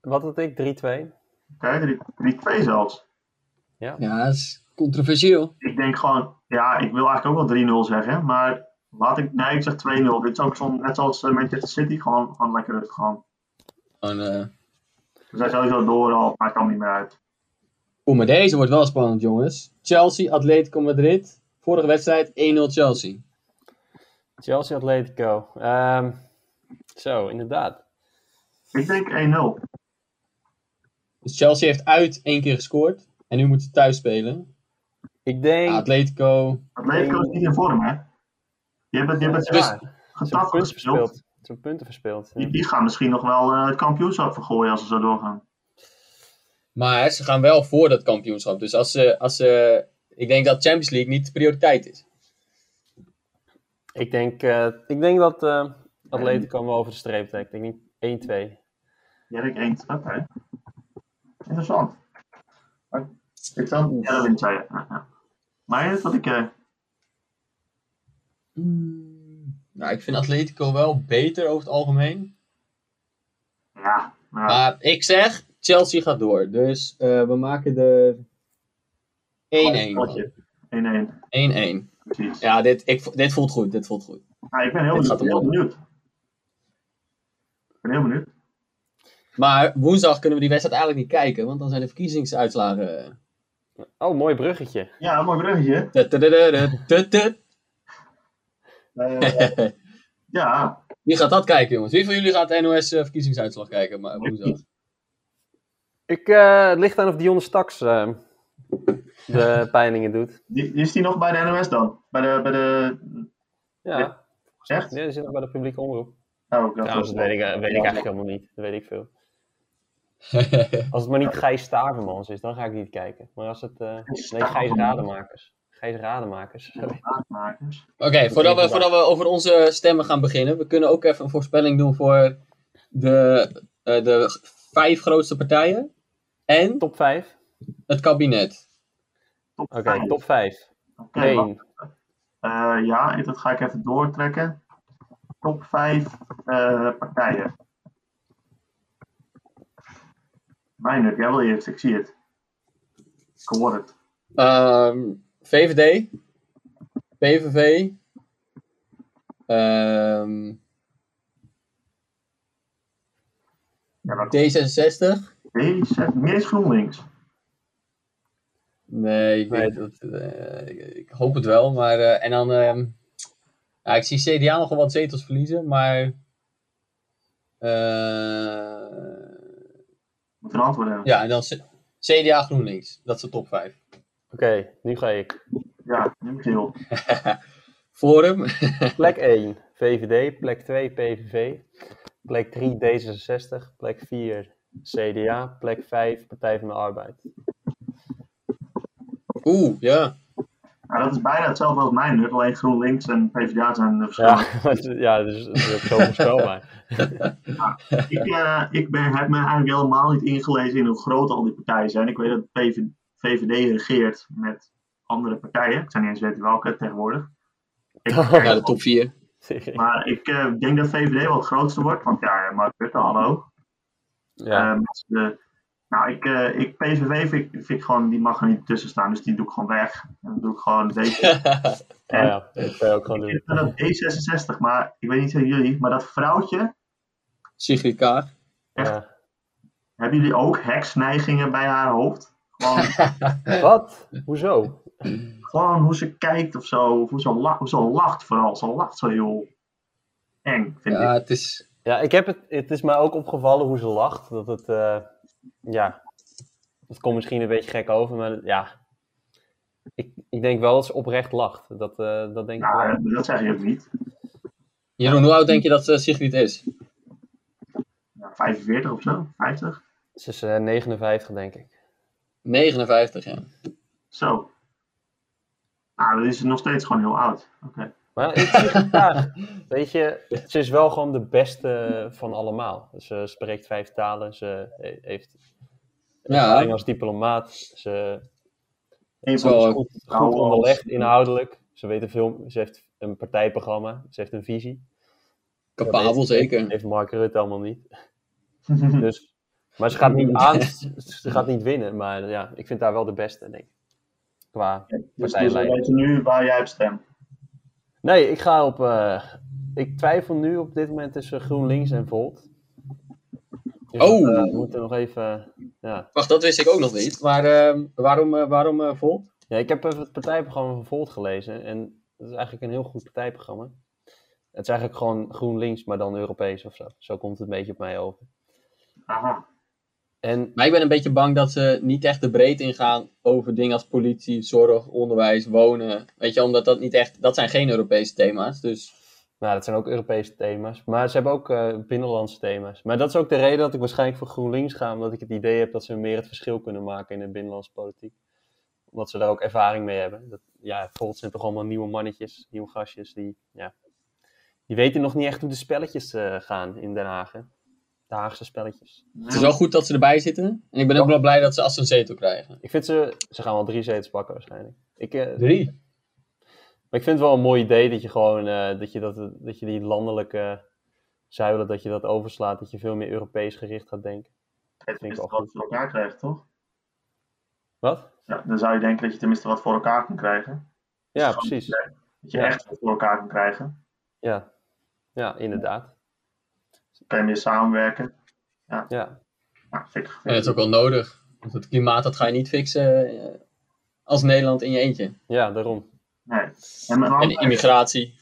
Speaker 2: Wat had ik? 3-2?
Speaker 1: drie- 3-2 zelfs.
Speaker 3: Ja, dat is controversieel.
Speaker 1: Ik denk gewoon, ja, ik wil eigenlijk ook wel 3-0 zeggen, maar laat ik, nee, ik zeg 2-0. Dit is ook zo'n, net zoals eh, Manchester City, gewoon, gewoon lekker rustig gewoon.
Speaker 3: Gewoon, eh,
Speaker 1: We zijn Dus sowieso door al, maar het kan niet meer uit.
Speaker 3: Oeh, maar deze wordt wel spannend, jongens. Chelsea, Atletico Madrid. Vorige wedstrijd 1-0 Chelsea.
Speaker 2: Chelsea Atletico. Ehm, zo, inderdaad.
Speaker 1: Ik denk 1-0.
Speaker 3: Dus Chelsea heeft uit één keer gescoord. En nu moeten ze thuis spelen.
Speaker 2: Ik denk...
Speaker 3: Atletico.
Speaker 1: Atletico is niet in vorm, hè? Die hebben, die hebben het
Speaker 2: Ja,
Speaker 1: best
Speaker 2: ze hebben
Speaker 1: getast
Speaker 2: punten
Speaker 1: gespeeld.
Speaker 2: verspeeld. Ze hebben punten verspeeld. ja.
Speaker 1: Die, die gaan misschien nog wel eh, het kampioenschap vergooien als ze zo doorgaan.
Speaker 3: Maar ze gaan wel voor dat kampioenschap. Dus als ze, als ze... Ik denk dat Champions League niet de prioriteit is.
Speaker 2: Ik denk, eh, ik denk dat eh Atletico wel over de streep trekt. Ik denk 1-2.
Speaker 1: Jerk 1 stap, hè? Interessant. Maar- Ik zal ja, dat wint zij. ja, ja. Maar dat wat ik. eh,
Speaker 3: Nou, ik vind Atletico wel beter over het algemeen.
Speaker 1: ja, nou,
Speaker 3: Maar ik zeg, Chelsea gaat door. Dus eh, we maken de 1-1.
Speaker 1: Oh,
Speaker 3: van.
Speaker 1: potje. 1-1,
Speaker 3: 1-1.
Speaker 1: precies.
Speaker 3: Ja, dit, ik, vo- dit voelt goed. Dit voelt goed.
Speaker 1: Nou, ik ben heel
Speaker 3: Dit
Speaker 1: benieuwd.
Speaker 3: gaat
Speaker 1: Ik ben heel benieuwd. Ik
Speaker 3: hem
Speaker 1: ben heel benieuwd.
Speaker 3: Maar woensdag kunnen we die wedstrijd eigenlijk niet kijken, want dan zijn de verkiezingsuitslagen. eh,
Speaker 2: Oh, mooi bruggetje.
Speaker 1: Ja, mooi bruggetje.
Speaker 3: Tutududu,
Speaker 1: Eh,
Speaker 3: tutut.
Speaker 1: ja,
Speaker 3: Wie gaat dat kijken, jongens? Wie van jullie gaat de NOS eh, verkiezingsuitslag kijken? Maar woensdag.
Speaker 2: Ik, eh, het ligt aan of Dionne Staks eh, de peilingen doet.
Speaker 1: die, die is die nog bij de NOS dan? Bij de. Bij de
Speaker 2: Ja,
Speaker 1: echt?
Speaker 2: ja die zit nog bij de publieke omroep.
Speaker 1: Oh, ik dacht
Speaker 2: Trouwens, dat weet ik, eh, weet ik eigenlijk helemaal niet. Dat weet ik veel. Als het maar niet Gijs Stavermans is, dan ga ik niet kijken. Maar als het... eh, nee, Gijs
Speaker 1: Stavermans.
Speaker 2: Rademakers. Gijs Rademakers.
Speaker 1: Aanmakers.
Speaker 3: Oké, voordat, we, voordat we over onze stemmen gaan beginnen, we kunnen ook even een voorspelling doen voor de, eh, de vijf grootste partijen en
Speaker 2: Top 5?
Speaker 3: het kabinet.
Speaker 1: Top
Speaker 2: Oké,
Speaker 1: vijf.
Speaker 2: top 5.
Speaker 1: Oké, wacht.
Speaker 2: 1.
Speaker 1: Eh, ja, ik- dat ga ik even doortrekken. Top 5 partijen. Meijnerd, jij wil eerst, ik zie het. Ik hoor het.
Speaker 3: Ehm, VVD, PVV, ehm,
Speaker 1: Ja, maar
Speaker 3: D66.
Speaker 1: deze, meer is GroenLinks.
Speaker 3: Nee, ik, weet dat, eh, ik- ik hoop het wel. Maar, eh, en dan, ehm, ja, ik zie CDA nogal wat zetels verliezen, maar... eh,
Speaker 1: Moet een antwoord hebben.
Speaker 3: ja, en dan C- CDA GroenLinks. Dat is de top 5.
Speaker 2: Oké, nu ga ik.
Speaker 1: Ja, nu ben ik heel.
Speaker 3: Forum.
Speaker 2: Plek 1, VVD. Plek 2, PVV. Plek 3, D66. Plek 4, CDA. Plek 5, Partij van de Arbeid.
Speaker 3: Oeh, ja.
Speaker 1: Nou, dat is bijna hetzelfde als Meijnerd, alleen GroenLinks en PvdA zijn de verschillende.
Speaker 2: Ja, maar het is- ja dus dat is ook zo voorspelbaar.
Speaker 1: Ik, eh, ik ben, heb me eigenlijk helemaal niet ingelezen in hoe groot al die partijen zijn. Ik weet dat PV, VVD regeert met andere partijen. Ik zou niet eens weten welke tegenwoordig. Ik, eh,
Speaker 3: Ja, de top 4.
Speaker 1: Maar ik eh, denk dat VVD wel het grootste wordt. Want ja, Mark Rutte, hallo.
Speaker 2: Ja,
Speaker 1: Ehm, als de- nou, ik, eh, ik, PVV vind, ik- vind ik gewoon, die mag er niet tussen staan. Dus die doe ik gewoon weg. En dan doe ik gewoon deze.
Speaker 2: nou ja, dat kan je ook gewoon doen.
Speaker 1: Ik vind dat D66, maar ik weet niet van jullie. Maar dat vrouwtje,
Speaker 3: Sigrid Kaag.
Speaker 2: Ja.
Speaker 1: hebben jullie ook heksneigingen bij haar hoofd? Gewoon...
Speaker 2: Wat? Hoezo?
Speaker 1: Gewoon hoe ze kijkt of zo. Of hoe ze, la- hoe ze lacht vooral. Ze lacht zo heel eng, vind
Speaker 3: Ja,
Speaker 1: ik.
Speaker 3: het is...
Speaker 2: Ja, ik heb het, het is mij ook opgevallen hoe ze lacht. Dat het, eh, ja, het komt misschien een beetje gek over, maar het- ja. Ik, ik denk wel dat ze oprecht lacht. Dat, eh, dat denk ik wel.
Speaker 1: Nou, dat zeg je ook niet.
Speaker 3: Jeroen, hoe oud denk je dat eh, Sigrid is?
Speaker 1: Ja, 45 of zo, 50.
Speaker 2: Ze is eh, 59, denk ik.
Speaker 3: 59, ja.
Speaker 1: Zo. Nou, dan is ze nog steeds gewoon heel oud. Oké.
Speaker 2: Maar ik zie het graag. Weet je, ze is wel gewoon de beste van allemaal. Ze spreekt vijf talen. Ze he- heeft
Speaker 3: Ja,
Speaker 2: Engels diplomaat. Ze
Speaker 1: Eén
Speaker 2: is
Speaker 1: van de-
Speaker 3: Zo.
Speaker 2: goed, goed
Speaker 1: Nou,
Speaker 2: onderlegd
Speaker 1: als-
Speaker 2: inhoudelijk. Ze, weet een film, ze heeft een partijprogramma. Ze heeft een visie.
Speaker 3: capabel
Speaker 2: Dat
Speaker 3: zeker.
Speaker 2: heeft Mark Rutte allemaal niet.
Speaker 1: Hm.
Speaker 2: Dus, maar ze gaat niet aan. Ze gaat niet winnen. Maar ja, ik vind haar wel de beste, denk ik. Qua
Speaker 1: Dus dus we
Speaker 2: partijleider.
Speaker 1: weten nu waar jij op stemt.
Speaker 2: Nee, ik ga op. eh, ik twijfel nu op dit moment tussen GroenLinks en Volt. Dus
Speaker 3: Oh.
Speaker 2: dat, eh, we moeten nog even. Ja.
Speaker 3: Wacht, dat wist ik ook nog niet. Maar ehm, waarom, eh, waarom eh, Volt?
Speaker 2: ja, ik heb even het partijprogramma van Volt gelezen. En dat is eigenlijk een heel goed partijprogramma. Het is eigenlijk gewoon GroenLinks, maar dan Europees of zo. Zo komt het een beetje op mij over.
Speaker 1: Aha.
Speaker 2: En
Speaker 3: Maar ik ben een beetje bang dat ze niet echt de breedte ingaan over dingen als politie, zorg, onderwijs, wonen. Weet je, omdat dat niet echt, dat zijn geen Europese thema's. Dus
Speaker 2: nou, dat zijn ook Europese thema's. Maar ze hebben ook eh, binnenlandse thema's. Maar dat is ook de reden dat ik waarschijnlijk voor GroenLinks ga. Omdat ik het idee heb dat ze meer het verschil kunnen maken in de binnenlandse politiek. Omdat ze daar ook ervaring mee hebben. Dat, ja, Volt zijn toch allemaal nieuwe mannetjes, nieuwe gastjes. Die, ja, die weten nog niet echt hoe de spelletjes eh, gaan in Den Haag. hè. De Haagse spelletjes.
Speaker 3: het is wel goed dat ze erbij zitten. En ik ben ook wel blij dat ze als een zetel krijgen.
Speaker 2: Ik vind ze... Ze gaan wel drie zetels pakken waarschijnlijk. Ik, eh,
Speaker 3: Drie.
Speaker 2: Maar ik vind het wel een mooi idee dat je gewoon eh, dat, je dat, dat je die landelijke zuilen, dat je dat overslaat, dat je veel meer Europees gericht gaat denken.
Speaker 1: Het
Speaker 2: vind ik
Speaker 1: is
Speaker 2: wel
Speaker 1: wat
Speaker 2: goed.
Speaker 1: voor elkaar krijgt, toch?
Speaker 2: Wat?
Speaker 1: Ja, dan zou je denken dat je tenminste wat voor elkaar kan krijgen.
Speaker 2: Ja, precies.
Speaker 1: Dat je
Speaker 2: Ja.
Speaker 1: echt wat voor elkaar kan krijgen.
Speaker 2: Ja, ja inderdaad.
Speaker 1: Dan kan je meer samenwerken.
Speaker 2: Ja.
Speaker 1: Nou, vind ik, vind
Speaker 3: En dat is
Speaker 1: ik-
Speaker 3: ook wel nodig. Want het klimaat, dat ga je niet fixen eh, als Nederland in je eentje.
Speaker 2: ja, daarom.
Speaker 1: Nee. En mijn
Speaker 3: En
Speaker 1: andere-
Speaker 3: immigratie,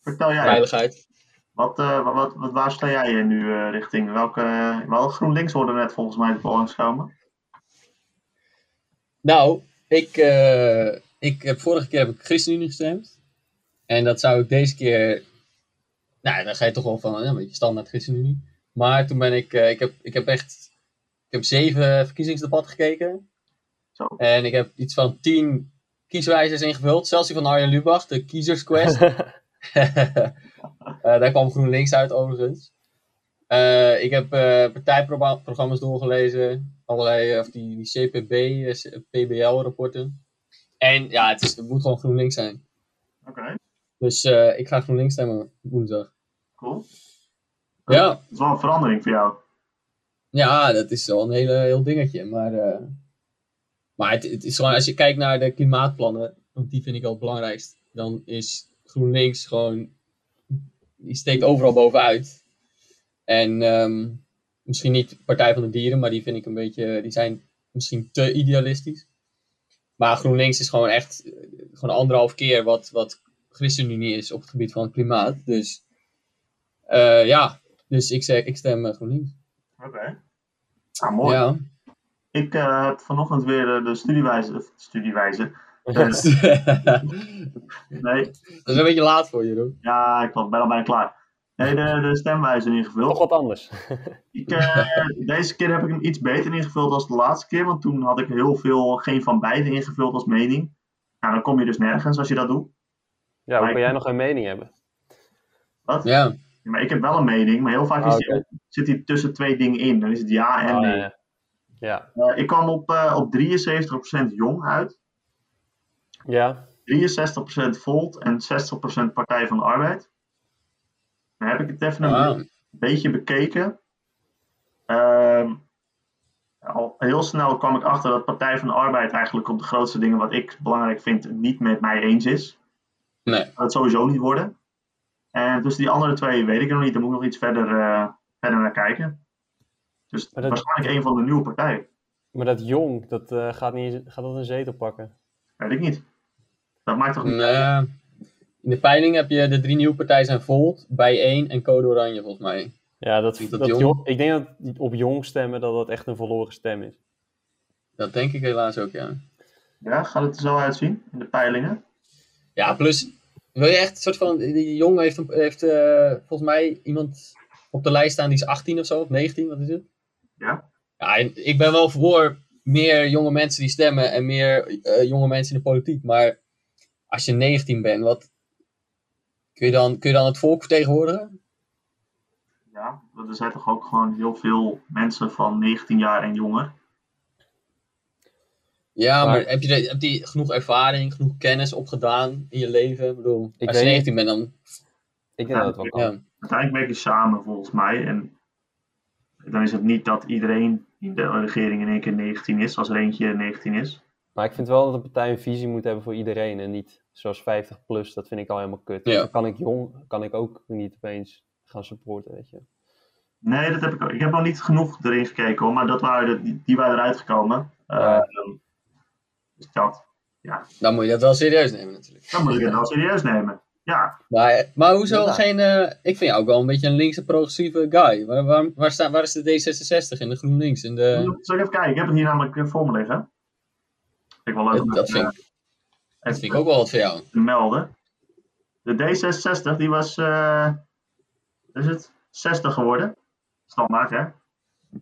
Speaker 1: vertel jij,
Speaker 3: veiligheid.
Speaker 1: wat, eh, wat, wat, wat- waar sta jij eh, nu eh, richting? Welke, eh, wel GroenLinks hoorde net volgens mij de polling komen.
Speaker 3: Nou, ik, eh, ik heb vorige keer heb ik ChristenUnie gestemd. En dat zou ik deze keer. Nou, dan ga je toch wel van ja, een beetje standaard ChristenUnie. Maar toen ben ik. eh, ik, heb, ik heb echt. Ik heb zeven verkiezingsdebatten gekeken.
Speaker 1: Zo.
Speaker 3: En ik heb iets van tien kieswijzers ingevuld. Zelfs die van Arjen Lubach, de kiezersquest. Eh, daar kwam GroenLinks uit overigens. Eh, ik heb eh, partijprogramma's doorgelezen. Allerlei, eh, of die, die CPB, eh, C- PBL-rapporten. En ja, het, is, het moet gewoon GroenLinks zijn.
Speaker 1: Oké,
Speaker 3: Dus eh, ik ga GroenLinks stemmen woensdag.
Speaker 1: cool.
Speaker 3: Ja,
Speaker 1: Dat is wel een verandering voor jou.
Speaker 3: ja dat is wel een hele, heel dingetje. Maar, eh, maar het, het is gewoon, als je kijkt naar de klimaatplannen, want die vind ik wel het belangrijkst, dan is GroenLinks gewoon, die steekt overal bovenuit. En ehm, misschien niet Partij van de Dieren, maar die vind ik een beetje, die zijn misschien te idealistisch. Maar GroenLinks is gewoon echt, eh, gewoon anderhalf keer wat, wat ChristenUnie is op het gebied van het klimaat. Dus eh, ja, dus ik, zeg, ik stem eh, GroenLinks.
Speaker 1: Oké. Nou, mooi.
Speaker 3: Ja.
Speaker 1: Ik eh, heb vanochtend weer eh, de studiewijze, of studiewijze, Eh, nee,
Speaker 3: Dat is een beetje laat voor Jeroen.
Speaker 1: ja, ik was- ben al bijna klaar. Nee, de, de stemwijze ingevuld.
Speaker 2: Nog wat anders.
Speaker 1: Ik, eh, deze keer heb ik hem iets beter ingevuld dan de laatste keer, want toen had ik heel veel geen van beide ingevuld als mening. Nou, dan kom je dus nergens als je dat doet.
Speaker 2: Ja, hoe
Speaker 1: Maar
Speaker 2: kan
Speaker 1: ik-
Speaker 2: jij nog een mening hebben?
Speaker 1: Wat?
Speaker 3: Ja.
Speaker 1: Ja, Maar ik heb wel een mening, maar heel vaak is
Speaker 2: Ah,
Speaker 1: die, zit hij tussen twee dingen in. Dan is het ja en
Speaker 2: Oh,
Speaker 1: nee.
Speaker 2: ja. ja.
Speaker 1: Eh, ik kwam op, eh, op 73% jong uit,
Speaker 2: Ja.
Speaker 1: 63% Volt en 60% Partij van de Arbeid. Dan heb ik het even een
Speaker 3: Ah,
Speaker 1: beetje bekeken. Ehm, al heel snel kwam ik achter dat Partij van de Arbeid eigenlijk op de grootste dingen wat ik belangrijk vind niet met mij eens is.
Speaker 3: nee.
Speaker 1: Dat sowieso niet worden. En tussen die andere twee weet ik nog niet. Daar moet ik nog iets verder, eh, verder naar kijken. Dus
Speaker 2: Maar dat-
Speaker 1: waarschijnlijk een van de nieuwe partijen.
Speaker 2: Maar dat jong, dat eh, gaat, niet, eens- gaat dat een zetel pakken?
Speaker 1: Weet ik niet. Dat maakt toch niet
Speaker 3: Nee. In de peiling heb je de drie nieuwe partijen zijn Volt, Bijeen en Code Oranje volgens mij.
Speaker 2: Ja, dat,
Speaker 3: Niet
Speaker 2: dat,
Speaker 3: dat jong.
Speaker 2: jong- ik denk dat die- op jong stemmen dat dat echt een verloren stem is.
Speaker 3: Dat denk ik helaas ook, ja.
Speaker 1: Ja, gaat het er zo uitzien in de peilingen?
Speaker 3: Ja, plus, wil je echt een soort van, die jongen heeft, een- heeft eh, volgens mij iemand op de lijst staan die is 18 of zo, of 19, wat is het?
Speaker 1: Ja.
Speaker 3: Ja, en ik ben wel voor meer jonge mensen die stemmen en meer eh, jonge mensen in de politiek, maar als je 19 bent, wat, kun je dan, kun je dan het volk vertegenwoordigen?
Speaker 1: Ja, want er zijn toch ook gewoon heel veel mensen van 19 jaar en jonger.
Speaker 3: Ja, maar,
Speaker 2: Maar-
Speaker 3: heb, je, de- heb je genoeg ervaring, genoeg kennis opgedaan in je leven? Ik bedoel,
Speaker 2: Ik
Speaker 3: als je
Speaker 2: weet
Speaker 3: 19 bent, dan...
Speaker 2: Ik denk
Speaker 1: Ja,
Speaker 2: dat het wel kan.
Speaker 3: Ja.
Speaker 1: uiteindelijk werk je samen volgens mij. En dan is het niet dat iedereen in de regering in één keer 19 is, als er eentje 19 is.
Speaker 2: Maar ik vind wel dat een partij een visie moet hebben voor iedereen en niet zoals 50 plus, dat vind ik al helemaal kut.
Speaker 3: Ja.
Speaker 2: Dan kan ik jong, kan ik ook niet opeens gaan supporten, weet je.
Speaker 1: Nee, dat heb ik ook. Ik heb nog niet genoeg erin gekeken hoor, maar dat waren de- die, die waren eruit gekomen. Eh,
Speaker 2: Ja.
Speaker 1: Dus dat.
Speaker 3: Dan moet je dat wel serieus nemen natuurlijk.
Speaker 1: Dan moet ik het wel serieus nemen. Ja,
Speaker 3: Maar, maar hoezo
Speaker 2: Ja.
Speaker 3: geen... eh, ik vind jou ook wel een beetje een linkse progressieve guy. Waar, waar, waar, sta, waar is de D66 en de GroenLinks? En de,
Speaker 1: zal ik even kijken? Ik heb het hier namelijk eh, voor me liggen. Vind ik wel leuk om
Speaker 3: dat, dat
Speaker 1: even,
Speaker 3: vind, ik-
Speaker 1: eh,
Speaker 3: dat vind ik ook wel wat voor jou.
Speaker 1: te melden. De D66 die was, eh, wat is het, 60 geworden. Standaard,
Speaker 3: Oh
Speaker 1: hè?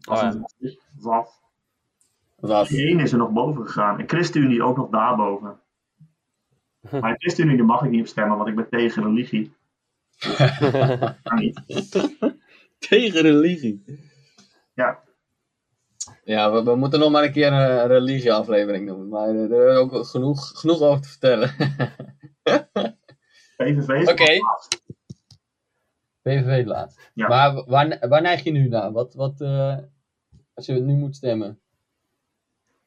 Speaker 1: Als
Speaker 2: ja.
Speaker 1: het was, is het was.
Speaker 3: Wat?
Speaker 1: Die ene is er nog boven gegaan. En ChristenUnie ook nog daarboven. Maar de ChristenUnie daar mag ik niet op stemmen, want ik ben tegen religie. Kan niet.
Speaker 3: Tegen religie.
Speaker 1: Ja.
Speaker 3: Ja, we, we moeten nog maar een keer een religieaflevering doen. Maar eh, er is ook genoeg, genoeg over te vertellen.
Speaker 1: PVV is
Speaker 3: Oké.
Speaker 1: laatst.
Speaker 3: PVV laat.
Speaker 1: Ja.
Speaker 3: Maar wa- waar, waar neig je nu naar? Wat, wat, eh, als je nu moet stemmen?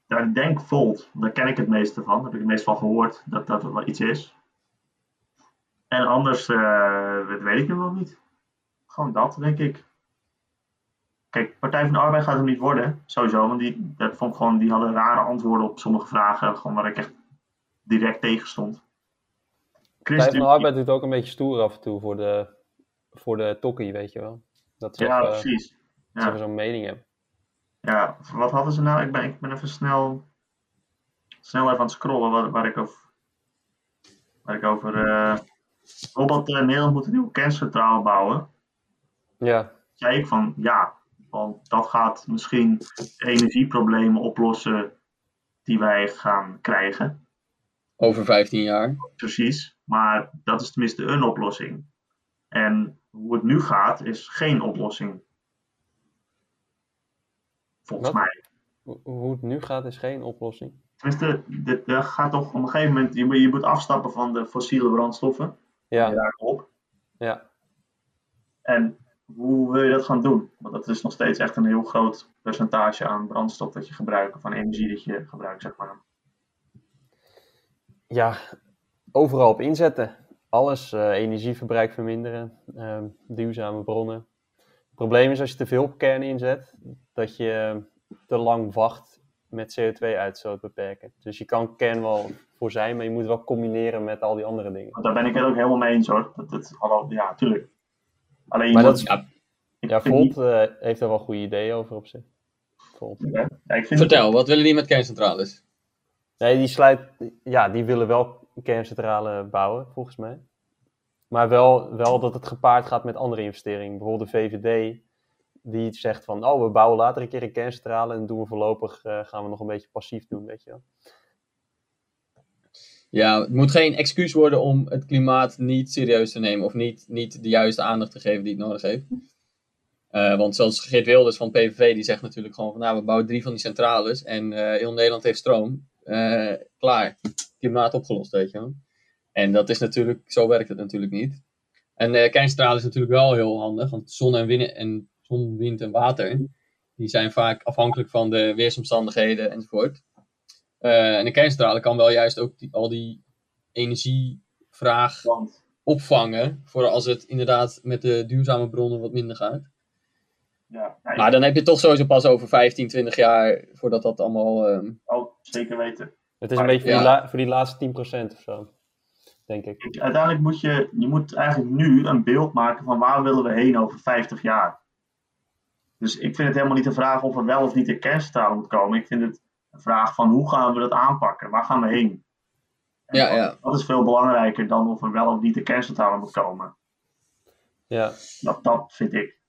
Speaker 1: Ja, ik denk Volt, daar ken ik het meeste van. Daar heb ik het meest van gehoord dat dat er wel iets is. En anders, eh, dat weet ik nu nog niet. Gewoon dat, denk ik. Kijk, Partij van de Arbeid gaat hem niet worden, sowieso. Want die, dat vond ik gewoon, die hadden rare antwoorden op sommige vragen, gewoon waar ik echt direct tegen stond.
Speaker 2: Partij van de
Speaker 1: ChristenUnie-
Speaker 2: Arbeid doet ook een beetje stoer af en toe voor de, voor de tokkie, weet je wel. Dat ze
Speaker 1: Ja,
Speaker 2: even-
Speaker 1: precies.
Speaker 2: dat ze
Speaker 1: Ja.
Speaker 2: even zo'n mening hebben.
Speaker 1: Ja, wat hadden ze nou? Ik ben, ik ben even snel, snel even aan het scrollen waar, waar ik over. Waar ik over eh, bijvoorbeeld eh, Nederland moet een nieuw kennisvertrouwen bouwen.
Speaker 2: Ja,
Speaker 1: Zei ik van ja, want dat gaat misschien de energieproblemen oplossen die wij gaan krijgen.
Speaker 3: Over 15 jaar.
Speaker 1: Precies, maar dat is tenminste een oplossing. En hoe het nu gaat, is geen oplossing. Volgens
Speaker 2: Wat?
Speaker 1: mij.
Speaker 2: Ho- hoe het nu gaat is geen oplossing.
Speaker 1: Tenminste, dit- er gaat toch op een gegeven moment, je, moet- je moet afstappen van de fossiele brandstoffen.
Speaker 2: Ja,
Speaker 1: Je raakt op.
Speaker 2: ja.
Speaker 1: En hoe wil je dat gaan doen? Want dat is nog steeds echt een heel groot percentage aan brandstof dat je gebruikt, of aan energie dat je gebruikt, zeg maar.
Speaker 2: ja, overal op inzetten. Alles, eh, energieverbruik verminderen, eh, duurzame bronnen. Het probleem is als je te veel op kern inzet, dat je te lang wacht met CO2-uitstoot beperken. Dus je kan kern wel voor zijn, maar je moet wel combineren met al die andere dingen.
Speaker 1: Want daar ben ik het ook helemaal mee eens hoor. Dat, dat, allo- ja, tuurlijk. Alleen je
Speaker 2: Maar
Speaker 1: moet-
Speaker 2: dat
Speaker 3: Ja,
Speaker 2: is-
Speaker 1: ik
Speaker 2: Ja,
Speaker 1: vind
Speaker 2: Volt
Speaker 1: niet-
Speaker 2: eh, heeft daar wel goede ideeën over op zich. Volt.
Speaker 1: Ja, ik vind
Speaker 3: Vertel, wat willen die met kerncentrales?
Speaker 2: Nee, die sluit. Ja, die willen wel een kerncentrale bouwen, volgens mij. Maar wel, wel dat het gepaard gaat met andere investeringen. Bijvoorbeeld de VVD, die zegt van: oh, we bouwen later een keer een kerncentrale en doen we voorlopig, eh, gaan we nog een beetje passief doen, weet je wel.
Speaker 3: Ja, het moet geen excuus worden om het klimaat niet serieus te nemen. Of niet, niet de juiste aandacht te geven die het nodig heeft. Eh, want zoals Geert Wilders van PVV, die zegt natuurlijk gewoon van... Nou, we bouwen drie van die centrales en eh, heel Nederland heeft stroom. Eh, klaar. Klimaat opgelost, weet je wel. En dat is natuurlijk... Zo werkt het natuurlijk niet. En eh kerncentrale is natuurlijk wel heel handig. Want zon en, wind en, zon, wind en water... Die zijn vaak afhankelijk van de weersomstandigheden enzovoort. Eh, en de kerncentrale kan wel juist ook die, al die energievraag
Speaker 1: Want,
Speaker 3: opvangen. Voor als het inderdaad met de duurzame bronnen wat minder gaat.
Speaker 1: ja, ja, ik-
Speaker 3: Maar dan heb je toch sowieso pas over 15, 20 jaar voordat dat allemaal. ehm,
Speaker 1: oh, zeker weten.
Speaker 2: Het is
Speaker 1: Maar-
Speaker 2: een beetje voor, die,
Speaker 3: ja.
Speaker 2: la- voor die laatste 10% of zo, denk ik.
Speaker 1: Ik- uiteindelijk moet je, je moet eigenlijk nu een beeld maken van waar willen we heen over 50 jaar. Dus ik vind het helemaal niet de vraag of er wel of niet een kerncentrale moet komen. Ik vind het een vraag van hoe gaan we dat aanpakken? Waar gaan we heen? En
Speaker 3: Ja,
Speaker 1: dat,
Speaker 3: ja.
Speaker 1: dat is veel belangrijker dan of er wel of niet een kerncentrale moet komen.
Speaker 2: Ja,
Speaker 1: Dat, dat vind ik.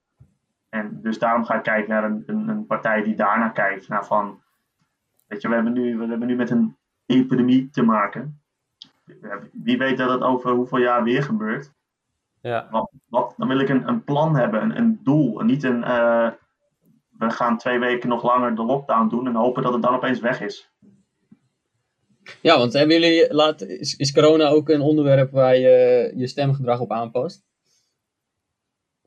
Speaker 1: En dus daarom ga ik kijken naar een, een, een partij die daarnaar kijkt. Naar van, weet je, we hebben, nu, we hebben nu met een epidemie te maken. Wie weet dat het over hoeveel jaar weer gebeurt.
Speaker 2: ja.
Speaker 1: Wat, wat, dan wil ik een, een plan hebben, een, een doel. En niet een. eh, we gaan twee weken nog langer de lockdown doen en hopen dat het dan opeens weg is.
Speaker 3: Ja, want hebben jullie. Laat, is, is corona ook een onderwerp waar je je stemgedrag op aanpast?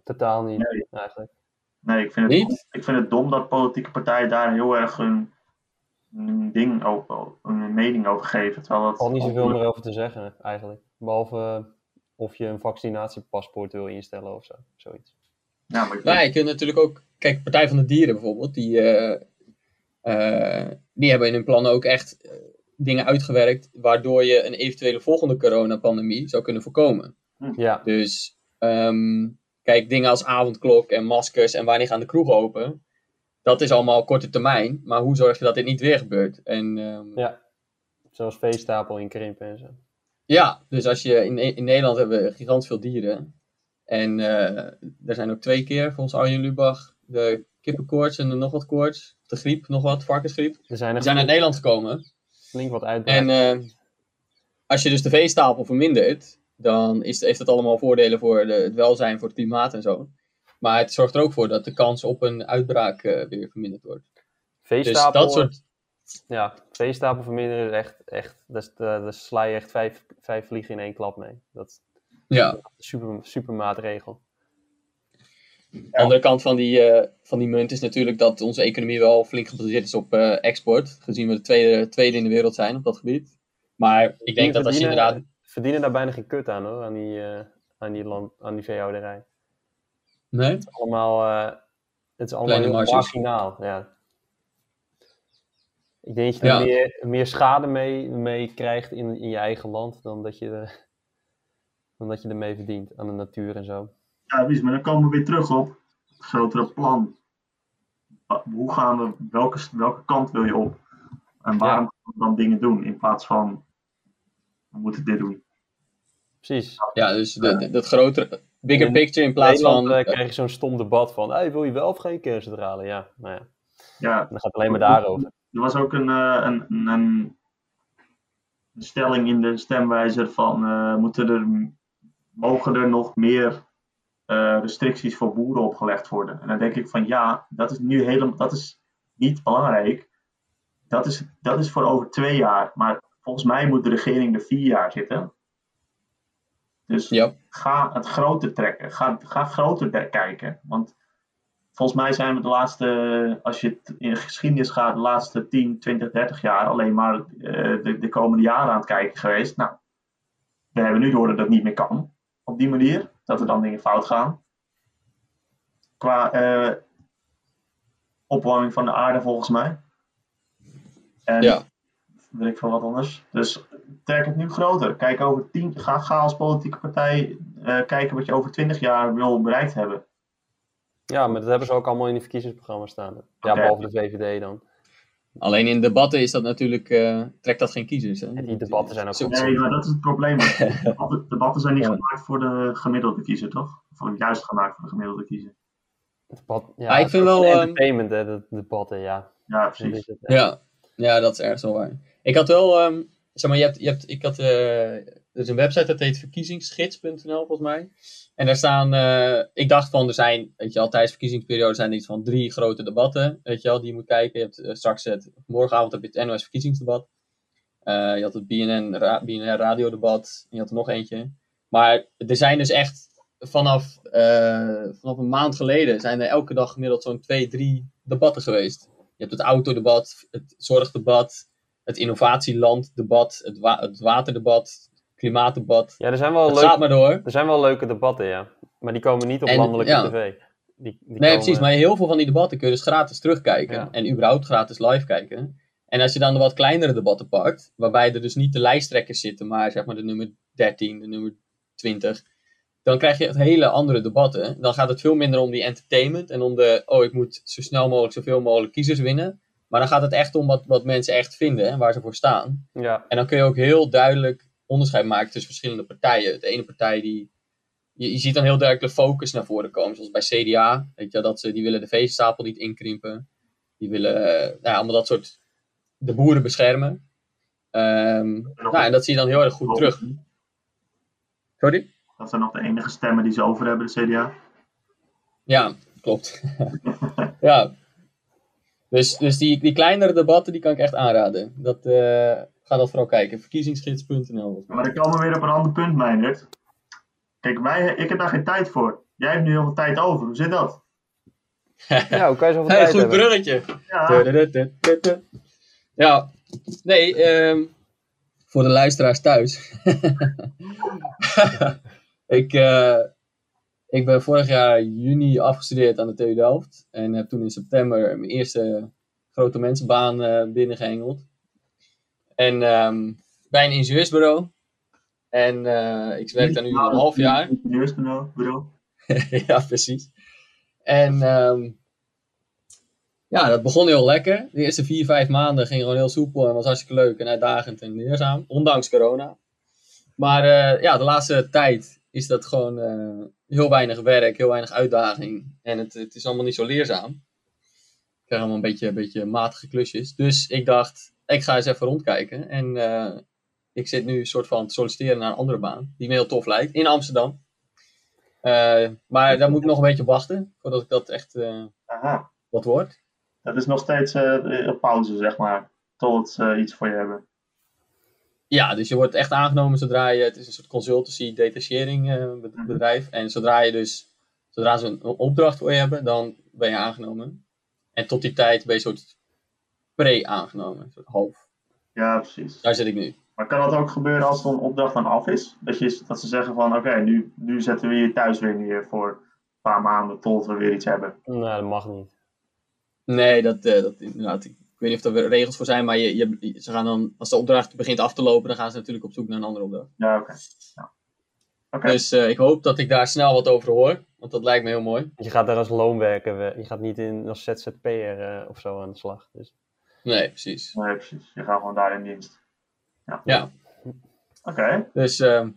Speaker 2: Totaal niet,
Speaker 1: Nee.
Speaker 2: eigenlijk.
Speaker 1: Nee, ik vind het,
Speaker 3: Niet?
Speaker 1: Ik vind het dom dat politieke partijen daar heel erg hun, hun ding over, hun mening over geven. Terwijl dat.
Speaker 2: Er valt niet zoveel meer over te zeggen, eigenlijk. Behalve eh, of je een vaccinatiepaspoort wil instellen of zo, zoiets.
Speaker 1: Ja, maar ik-
Speaker 3: Nou, ja, je kunt natuurlijk ook. Kijk, Partij van de Dieren bijvoorbeeld, die, eh, eh, die hebben in hun plannen ook echt eh, dingen uitgewerkt. waardoor je een eventuele volgende coronapandemie zou kunnen voorkomen.
Speaker 2: Ja,
Speaker 3: Dus ehm, kijk, dingen als avondklok en maskers en wanneer gaan de kroegen open. Dat is allemaal korte termijn. Maar hoe zorg je dat dit niet weer gebeurt? En ehm,
Speaker 2: Ja. zoals veestapel in krimpen en zo.
Speaker 3: Ja, dus als je in, in Nederland hebben we gigantisch veel dieren. En eh, er zijn ook twee keer, volgens Arjen Lubach, de kippenkoorts en de nog wat koorts. De griep, nog wat, varkensgriep.
Speaker 2: Er zijn
Speaker 3: Die
Speaker 2: er
Speaker 3: zijn uit Nederland gekomen.
Speaker 2: flink wat
Speaker 3: En
Speaker 2: uitbreidingen.
Speaker 3: eh, als je dus de veestapel vermindert, dan is, heeft dat allemaal voordelen voor de, het welzijn, voor het klimaat en zo. Maar het zorgt er ook voor dat de kans op een uitbraak eh, weer verminderd wordt. Dus
Speaker 2: veestapel,
Speaker 3: dat soort...
Speaker 2: ja, veestapel verminderen is echt, echt daar s- daar daar sla je echt vijf, vijf vliegen in één klap mee. Dat is
Speaker 3: Ja,
Speaker 2: een super, super maatregel.
Speaker 3: De andere kant van die, eh, van die munt is natuurlijk dat onze economie wel flink gebaseerd is op eh, export. Gezien we de tweede, tweede in de wereld zijn op dat gebied. Maar ik denk dat als je
Speaker 2: Verdienen-
Speaker 3: inderdaad.
Speaker 2: Verdienen daar bijna geen kut aan hoor, aan die, eh, aan die, land, aan die veehouderij. Het
Speaker 3: Nee?
Speaker 2: is allemaal, eh, het is allemaal
Speaker 3: Kleine
Speaker 2: heel
Speaker 3: marges.
Speaker 2: marginaal. Ja. Ik denk dat je er
Speaker 3: Ja.
Speaker 2: meer, meer schade mee, mee krijgt in, in je eigen land dan dat je, er, dan dat je ermee verdient aan de natuur en zo.
Speaker 1: Ja, precies, maar dan komen we weer terug op het grotere plan. Wa- Hoe gaan we, welke, welke kant wil je op? En waarom gaan we dan dingen doen in plaats van we moeten dit doen?
Speaker 2: Precies.
Speaker 3: Ja, dus de- de- dat grotere. Bigger
Speaker 2: In
Speaker 3: picture in
Speaker 2: In
Speaker 3: plaats
Speaker 2: Nederland
Speaker 3: van.
Speaker 2: eh,
Speaker 3: eh,
Speaker 2: krijg je zo'n stom debat van, hey, wil je wel of geen kerncentrale? Ja, nou ja,
Speaker 1: Ja,
Speaker 2: dan gaat het alleen maar daarover.
Speaker 1: er was ook een, eh, een, een, een stelling in de stemwijzer van eh, moeten er, mogen er nog meer eh, restricties voor boeren opgelegd worden? En dan denk ik van ja, dat is nu helemaal, dat is niet belangrijk. Dat is, dat is voor over twee jaar. Maar volgens mij moet de regering er vier jaar zitten. Dus
Speaker 3: ja,
Speaker 1: ga het groter trekken. Ga, ga groter de- kijken. Want volgens mij zijn we de laatste, als je het in de geschiedenis gaat, de laatste 10, 20, 30 jaar alleen maar eh, de, de komende jaren aan het kijken geweest. Nou, we hebben nu door dat dat niet meer kan. Op die manier, dat er dan dingen fout gaan. Qua eh, opwarming van de aarde, volgens mij. En
Speaker 3: ja,
Speaker 1: weet ik van wat anders. Dus trek het nu groter. Kijk over tien, ga, ga als politieke partij eh, kijken wat je over twintig jaar wil bereikt hebben.
Speaker 2: Ja, maar dat hebben ze ook allemaal in die verkiezingsprogramma's staan. Ja,
Speaker 1: Oké.
Speaker 2: behalve de VVD dan.
Speaker 3: alleen in debatten is dat natuurlijk. eh, trekt dat geen kiezers. Hè?
Speaker 2: En die debatten zijn ook
Speaker 3: Zo-
Speaker 1: Nee, maar dat is het probleem. Debatten, debatten zijn niet
Speaker 3: Ja.
Speaker 1: gemaakt voor de gemiddelde kiezer, toch? Of juist gemaakt voor de gemiddelde kiezer.
Speaker 2: Debat, ja,
Speaker 3: Ah, ik
Speaker 2: het
Speaker 3: vind
Speaker 2: is
Speaker 3: wel,
Speaker 2: een
Speaker 3: ehm,
Speaker 2: Entertainment, hè, de debatten, ja.
Speaker 1: Ja,
Speaker 2: Dat
Speaker 1: precies.
Speaker 2: is het, hè.
Speaker 3: Ja, ja, dat is ergens wel waar. Ik had wel, ehm, zeg maar, je hebt, je hebt, ik had, eh, er is een website dat heet verkiezingsgids.nl volgens mij. En daar staan, eh, ik dacht van, er zijn, weet je al, tijdens verkiezingsperiode zijn er iets van drie grote debatten, weet je wel, die je moet kijken. Je hebt eh, straks het, morgenavond heb je het NOS verkiezingsdebat. Eh, je had het BNN, ra BNR radiodebat, en je had er nog eentje. Maar er zijn dus echt, vanaf, eh, vanaf een maand geleden zijn er elke dag gemiddeld zo'n twee, drie debatten geweest. Je hebt het autodebat, het zorgdebat, het innovatielanddebat, het, wa- het waterdebat, het klimaatdebat.
Speaker 2: Ja, er zijn, wel
Speaker 3: Het
Speaker 2: leuke,
Speaker 3: gaat maar door.
Speaker 2: er zijn wel leuke debatten, ja. Maar die komen niet op
Speaker 3: En,
Speaker 2: landelijke
Speaker 3: ja.
Speaker 2: tv. Die,
Speaker 3: Nee,
Speaker 2: die komen-
Speaker 3: precies. Maar heel veel van die debatten kun je dus gratis terugkijken.
Speaker 2: eh, Ja.
Speaker 3: En überhaupt gratis live kijken. En als je dan de wat kleinere debatten pakt, waarbij er dus niet de lijsttrekkers zitten, maar zeg maar de nummer 13, de nummer 20, dan krijg je echt hele andere debatten. Dan gaat het veel minder om die entertainment en om de, oh, ik moet zo snel mogelijk zoveel mogelijk kiezers winnen. Maar dan gaat het echt om wat, wat mensen echt vinden en waar ze voor staan.
Speaker 2: Ja,
Speaker 3: En dan kun je ook heel duidelijk onderscheid maken tussen verschillende partijen. De ene partij die. Je, je ziet dan heel duidelijk de focus naar voren komen. Zoals bij CDA. Weet je, wel, dat ze, die willen de veestapel niet inkrimpen. Die willen eh, nou ja, allemaal dat soort. de boeren beschermen. Ehm, nou, en dat zie je dan heel erg goed terug. Sorry?
Speaker 1: Dat zijn nog de enige stemmen die ze over hebben, de CDA.
Speaker 3: Ja, klopt. ja. Dus, dus die, die kleinere debatten die kan ik echt aanraden. Dat, eh, ga dat vooral kijken. Verkiezingsgids.nl.
Speaker 1: Maar dan komen we weer op een ander punt, Meindert. Kijk, wij, ik heb daar geen tijd voor. Jij hebt nu heel veel tijd over. Hoe zit dat?
Speaker 2: ja hoe kan je zoveel
Speaker 3: Hey,
Speaker 2: tijd
Speaker 3: goed
Speaker 2: hebben?
Speaker 3: bruggetje.
Speaker 1: Ja,
Speaker 3: Ja, nee, ehm, voor de luisteraars thuis. ik, eh, ik ben vorig jaar juni afgestudeerd aan de TU Delft. En heb toen in september mijn eerste grote mensenbaan eh binnengeëngeld. En ehm, bij een ingenieursbureau. En eh, ik werk daar nu al een half jaar.
Speaker 1: Ingenieursgenoot, bro.
Speaker 3: ja, precies. En ehm, ja, dat begon heel lekker. De eerste vier, vijf maanden ging gewoon heel soepel en was hartstikke leuk en uitdagend en leerzaam, ondanks corona. Maar eh, ja, de laatste tijd is dat gewoon eh, heel weinig werk, heel weinig uitdaging en het, het is allemaal niet zo leerzaam. Ik krijg allemaal een beetje, een beetje matige klusjes. Dus ik dacht, ik ga eens even rondkijken. En eh, ik zit nu soort van te solliciteren naar een andere baan, die me heel tof lijkt, in Amsterdam. Eh, maar daar moet ik nog een beetje op wachten voordat ik dat echt eh,
Speaker 1: Aha.
Speaker 3: wat wordt.
Speaker 1: Dat is nog steeds eh, op pauze, zeg maar. Tot ze iets voor je hebben.
Speaker 3: Ja, dus je wordt echt aangenomen zodra je. Het is een soort consultancy, detachering eh, bed- bedrijf. En zodra je dus. Zodra ze een opdracht voor je hebben, dan ben je aangenomen. En tot die tijd ben je een soort pre-aangenomen, een soort half.
Speaker 1: Ja, precies.
Speaker 3: Daar zit ik nu.
Speaker 1: Maar kan dat ook gebeuren als er een opdracht dan af is? Dat, je, dat ze zeggen van, oké, nu, nu zetten we je thuis weer neer voor een paar maanden tot we weer iets hebben.
Speaker 2: Nou, dat mag niet.
Speaker 3: Nee, dat, eh, dat inderdaad. Ik weet niet of er regels voor zijn, maar je, je, ze gaan dan, als de opdracht begint af te lopen, dan gaan ze natuurlijk op zoek naar een andere opdracht.
Speaker 1: Ja, oké. Ja. Oké.
Speaker 3: Dus eh, ik hoop dat ik daar snel wat over hoor, want dat lijkt me heel mooi.
Speaker 2: Je gaat daar als loonwerker, we- je gaat niet in als ZZP'er eh, of zo aan de slag. Dus
Speaker 3: Nee, precies.
Speaker 1: Nee, precies. Je gaat gewoon daar in dienst. Ja.
Speaker 3: Ja.
Speaker 1: Oké.
Speaker 3: Dus ehm,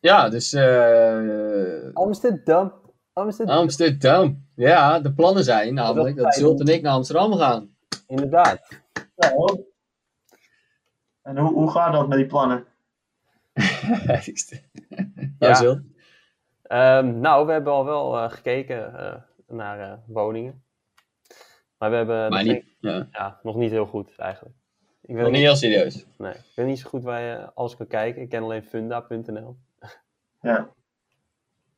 Speaker 3: ja, dus eh,
Speaker 2: Amsterdam, Amsterdam,
Speaker 3: Amsterdam. Ja, de plannen zijn namelijk dat Zult en ik naar Amsterdam gaan.
Speaker 2: inderdaad.
Speaker 1: Nou. En hoe, hoe gaat dat met die plannen?
Speaker 3: ja,
Speaker 2: Ja.
Speaker 3: Nou, Zult.
Speaker 2: Ehm, nou, we hebben al wel eh, gekeken eh, naar eh, woningen. Maar we hebben
Speaker 3: Maar
Speaker 2: nog,
Speaker 3: niet, ja,
Speaker 2: geen- ja, nog niet heel goed eigenlijk. Ik weet,
Speaker 3: nog
Speaker 2: ook
Speaker 3: niet
Speaker 2: niet,
Speaker 3: heel serieus.
Speaker 2: nee, ik weet niet zo goed waar je alles kan kijken. Ik ken alleen funda.nl.
Speaker 1: Ja.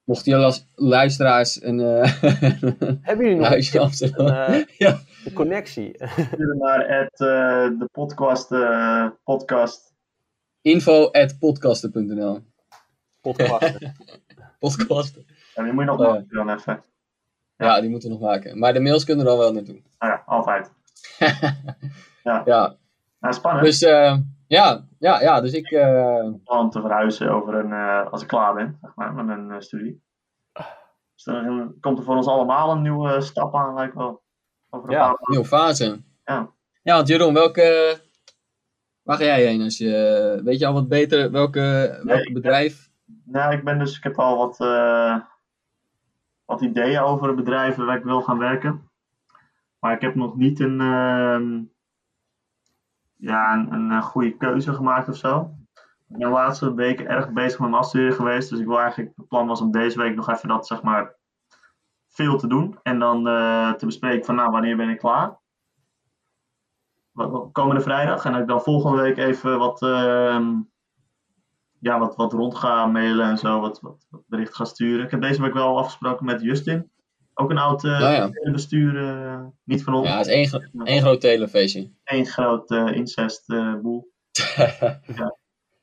Speaker 3: Mochten jullie als luisteraars een eh
Speaker 2: Hebben jullie nog
Speaker 3: huisje in
Speaker 2: een,
Speaker 3: Amsterdam?
Speaker 2: eh,
Speaker 3: Ja.
Speaker 2: een connectie?
Speaker 1: Stuur hem naar het, eh, de podcast, eh, podcast.
Speaker 3: Info at podcasten.nl.
Speaker 2: Podcasten.
Speaker 3: Podcasten.
Speaker 1: En die moet je nog
Speaker 3: Oh, Ja.
Speaker 1: maken dan even.
Speaker 3: Ja, die moeten we nog maken. Maar de mails kunnen er al wel naartoe.
Speaker 1: Nou ja, altijd.
Speaker 3: Ja,
Speaker 1: Nou, spannend.
Speaker 3: dus eh, ja, ja, ja, dus ik. eh,
Speaker 1: plan te verhuizen over een, eh, als ik klaar ben, zeg maar, met mijn eh, studie. Dus dan eh, komt er voor ons allemaal een nieuwe stap aan, lijkt wel. Over een
Speaker 2: Ja.
Speaker 1: paar maanden.
Speaker 3: Nieuwe fase.
Speaker 1: Ja.
Speaker 3: Ja, want Jeroen, welke. Waar ga jij heen als je. Weet je al wat beter welke, welk
Speaker 1: ik-
Speaker 3: bedrijf?
Speaker 1: Nou, ik ben dus, ik heb al wat, eh, wat ideeën over de bedrijven waar ik wil gaan werken. Maar ik heb nog niet een, ehm, ja, een, een eh, goede keuze gemaakt of zo. Ik ben de laatste weken erg bezig met mijn afstuderen geweest. Dus ik wil eigenlijk, het plan was om deze week nog even dat, zeg maar, veel te doen. En dan eh, te bespreken van, nou, wanneer ben ik klaar? Wat- wat- Komende vrijdag. En dat ik dan volgende week even wat... ehm, ja, wat, wat rond ga mailen en zo, wat, wat, wat bericht ga sturen. Ik heb deze week wel afgesproken met Justin. Ook een oud eh
Speaker 3: Nou ja.
Speaker 1: bestuur, eh, niet van ons.
Speaker 3: Ja, het is één, gro- één groot telefeestje.
Speaker 1: Eén groot eh, incest incestboel.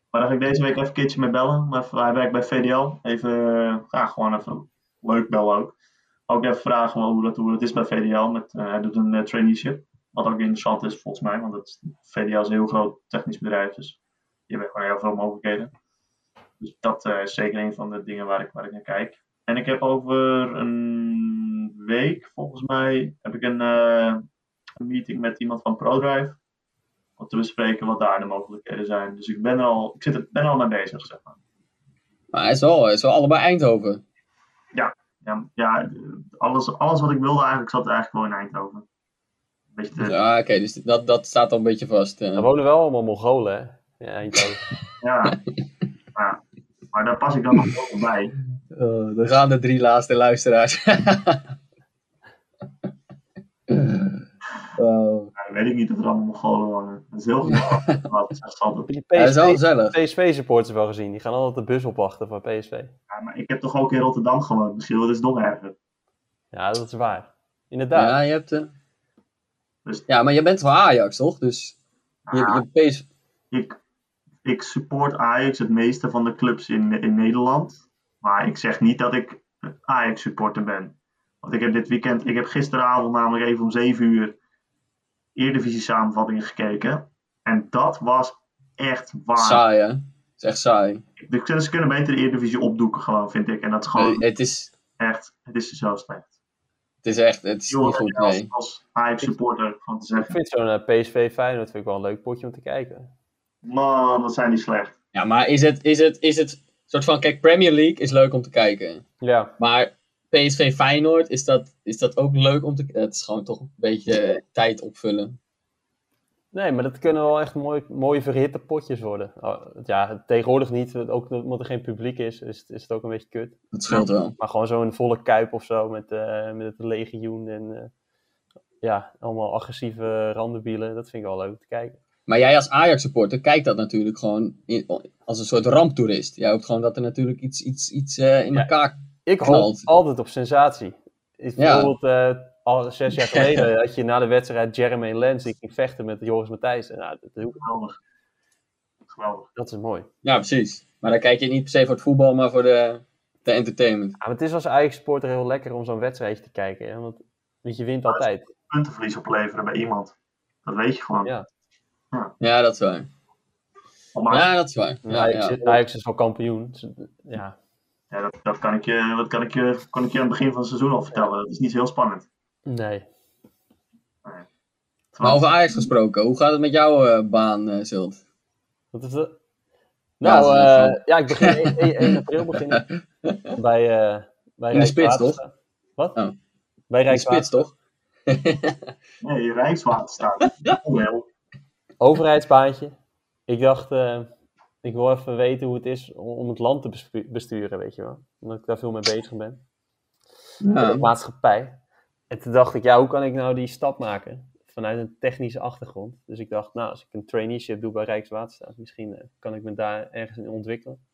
Speaker 1: maar daar ga ik deze week even een keertje mee bellen. Maar hij werkt bij VDL. Even, eh, ja, gewoon even leuk bellen ook. Ook even vragen hoe dat, hoe dat is bij VDL. Met, eh, hij doet een eh, traineeship. Wat ook interessant is volgens mij. Want het, VDL is een heel groot technisch bedrijf. Dus je hebt gewoon heel veel mogelijkheden. Dus dat eh, is zeker een van de dingen waar ik, waar ik naar kijk. En ik heb over een week, volgens mij, heb ik een, eh, een meeting met iemand van ProDrive. Om te bespreken wat daar de mogelijkheden zijn. Dus ik ben er al, ik zit er, ben er al mee bezig, zeg maar.
Speaker 3: Maar het is wel, het is wel allebei Eindhoven.
Speaker 1: Ja, ja alles, alles wat ik wilde eigenlijk zat eigenlijk wel in Eindhoven. Beetje te-
Speaker 3: Ja, oké, dus dat, dat staat al een beetje vast. eh.
Speaker 2: Er wonen wel allemaal Mongolen, hè? Ja, Eindhoven.
Speaker 1: ja. ja. Maar daar pas ik dan nog wel bij.
Speaker 3: Eh, dan gaan de drie laatste luisteraars. Oh,
Speaker 1: Ja, weet ik niet of er allemaal Mongolen wonen. Dat is heel goed. Maar dat is altijd-
Speaker 2: Die
Speaker 3: ja, dat is wel
Speaker 2: PSV,
Speaker 3: gezellig.
Speaker 2: PSV-supporters wel gezien. Die gaan altijd de bus opwachten voor PSV.
Speaker 1: ja, maar ik heb toch ook in Rotterdam gewoond, misschien. Dat is nog erger.
Speaker 2: Ja, dat is waar. Inderdaad.
Speaker 3: Ja, je hebt, eh,
Speaker 1: Dus-
Speaker 3: ja, maar je bent van Ajax, toch? Dus je,
Speaker 1: Ah.
Speaker 3: je PSV
Speaker 1: ik, ik support Ajax het meeste van de clubs in, in Nederland. Maar ik zeg niet dat ik Ajax supporter ben. Want ik heb dit weekend, ik heb gisteravond namelijk even om 7 uur Eredivisie samenvatting gekeken. En dat was echt waar.
Speaker 3: saai, hè? is echt saai.
Speaker 1: De- Ze kunnen beter de Eredivisie opdoeken gewoon, vind ik. En dat is gewoon
Speaker 3: Nee, het, is,
Speaker 1: echt, het is zo slecht.
Speaker 3: het is echt het is niet
Speaker 1: Jongen,
Speaker 3: goed,
Speaker 1: als,
Speaker 3: nee.
Speaker 1: als Ajax supporter van te
Speaker 2: Ik
Speaker 1: zeggen,
Speaker 2: vind zo'n eh, PSV Feyenoord vind ik wel een leuk potje om te kijken.
Speaker 1: man, wat zijn die slecht.
Speaker 3: Ja, maar is het, is het, is het soort van, kijk, Premier League is leuk om te kijken.
Speaker 2: Ja,
Speaker 3: Maar PSV Feyenoord, is dat, is dat ook leuk om te kijken? Het is gewoon toch een beetje eh, tijd opvullen.
Speaker 2: nee, maar dat kunnen wel echt mooi, mooie verhitte potjes worden. Oh, ja, tegenwoordig niet, want ook omdat er geen publiek is, is, het- is het ook een beetje kut.
Speaker 3: Dat scheelt wel.
Speaker 2: Maar gewoon zo'n volle kuip of zo met, eh, met het legioen en eh, ja, allemaal agressieve randenbielen. Dat vind ik wel leuk om te kijken.
Speaker 3: Maar jij als Ajax-supporter kijkt dat natuurlijk gewoon in- als een soort ramptoerist. Jij hoopt gewoon dat er natuurlijk iets, iets, iets eh, in
Speaker 2: Ja.
Speaker 3: elkaar...
Speaker 2: Ik hoop
Speaker 3: Knalt.
Speaker 2: altijd op sensatie. Is
Speaker 3: Ja.
Speaker 2: Bijvoorbeeld eh, al zes jaar geleden had je na de wedstrijd Jeremy Lens die ging vechten met Joris Matthijs. En, nou, dat,
Speaker 1: Geweldig. Geweldig.
Speaker 2: dat is mooi.
Speaker 3: Ja, precies. Maar dan kijk je niet per se voor het voetbal, maar voor de, de entertainment.
Speaker 2: Ja, maar het is als eigen supporter heel lekker om zo'n wedstrijdje te kijken. Hè? Want, want je wint altijd.
Speaker 1: Puntenverlies opleveren bij iemand. Dat weet je gewoon.
Speaker 2: Ja.
Speaker 3: Ja, dat is waar.
Speaker 1: Maar
Speaker 3: ja, dat is waar. Ja,
Speaker 2: Ajax,
Speaker 3: ja.
Speaker 2: Ajax is wel kampioen. Dus, ja.
Speaker 1: ja, dat, dat kan ik je, wat kan ik je, kan ik je aan het begin van het seizoen al vertellen. Dat is niet zo heel spannend.
Speaker 2: Nee.
Speaker 3: Maar over Ajax gesproken, hoe gaat het met jouw eh, baan, eh Zult?
Speaker 2: Wat is dat?
Speaker 3: Ja,
Speaker 2: Nou,
Speaker 3: dat is
Speaker 2: ja,
Speaker 3: wel.
Speaker 2: ja ik begin 1, 1 april begin ik bij, eh bij
Speaker 3: In de spits,
Speaker 2: Rijkswaterstaat. Wat?
Speaker 3: Oh.
Speaker 2: Bij
Speaker 3: In de spits,
Speaker 2: Rijkswaterstaat.
Speaker 3: toch?
Speaker 1: Nee, Rijkswaterstaat. Oh, wel.
Speaker 2: Overheidsbaantje. Ik dacht, eh, ik wil even weten hoe het is om, om het land te bespu- besturen, weet je wel. Omdat ik daar veel mee bezig ben.
Speaker 3: Ja.
Speaker 2: de maatschappij. En toen dacht ik, ja, hoe kan ik nou die stap maken? Vanuit een technische achtergrond. Dus ik dacht, nou, als ik een traineeship doe bij Rijkswaterstaat, misschien eh, kan ik me daar ergens in ontwikkelen.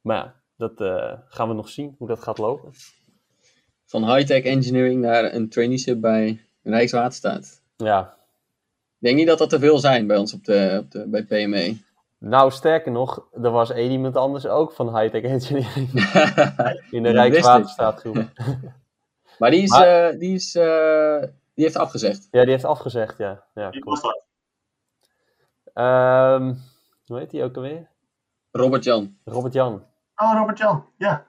Speaker 2: Maar ja, dat eh, gaan we nog zien, hoe dat gaat lopen.
Speaker 3: Van high-tech engineering naar een traineeship bij Rijkswaterstaat.
Speaker 2: Ja,
Speaker 3: Ik denk niet dat dat te veel zijn bij ons op de, op de, bij E. PME.
Speaker 2: nou, sterker nog, er was één iemand anders ook van high-tech engineering in de
Speaker 3: wist ik.
Speaker 2: Rijkswaterstaatgroep.
Speaker 3: maar die, is,
Speaker 2: Maar-
Speaker 3: eh, die, is, eh, die heeft afgezegd.
Speaker 2: Ja, die heeft afgezegd, ja. ja
Speaker 1: Wie
Speaker 2: klopt.
Speaker 1: was dat?
Speaker 2: Ehm, hoe heet die ook alweer?
Speaker 3: Robert Jan.
Speaker 2: Robert-Jan.
Speaker 1: Oh, Robert Jan. Ja.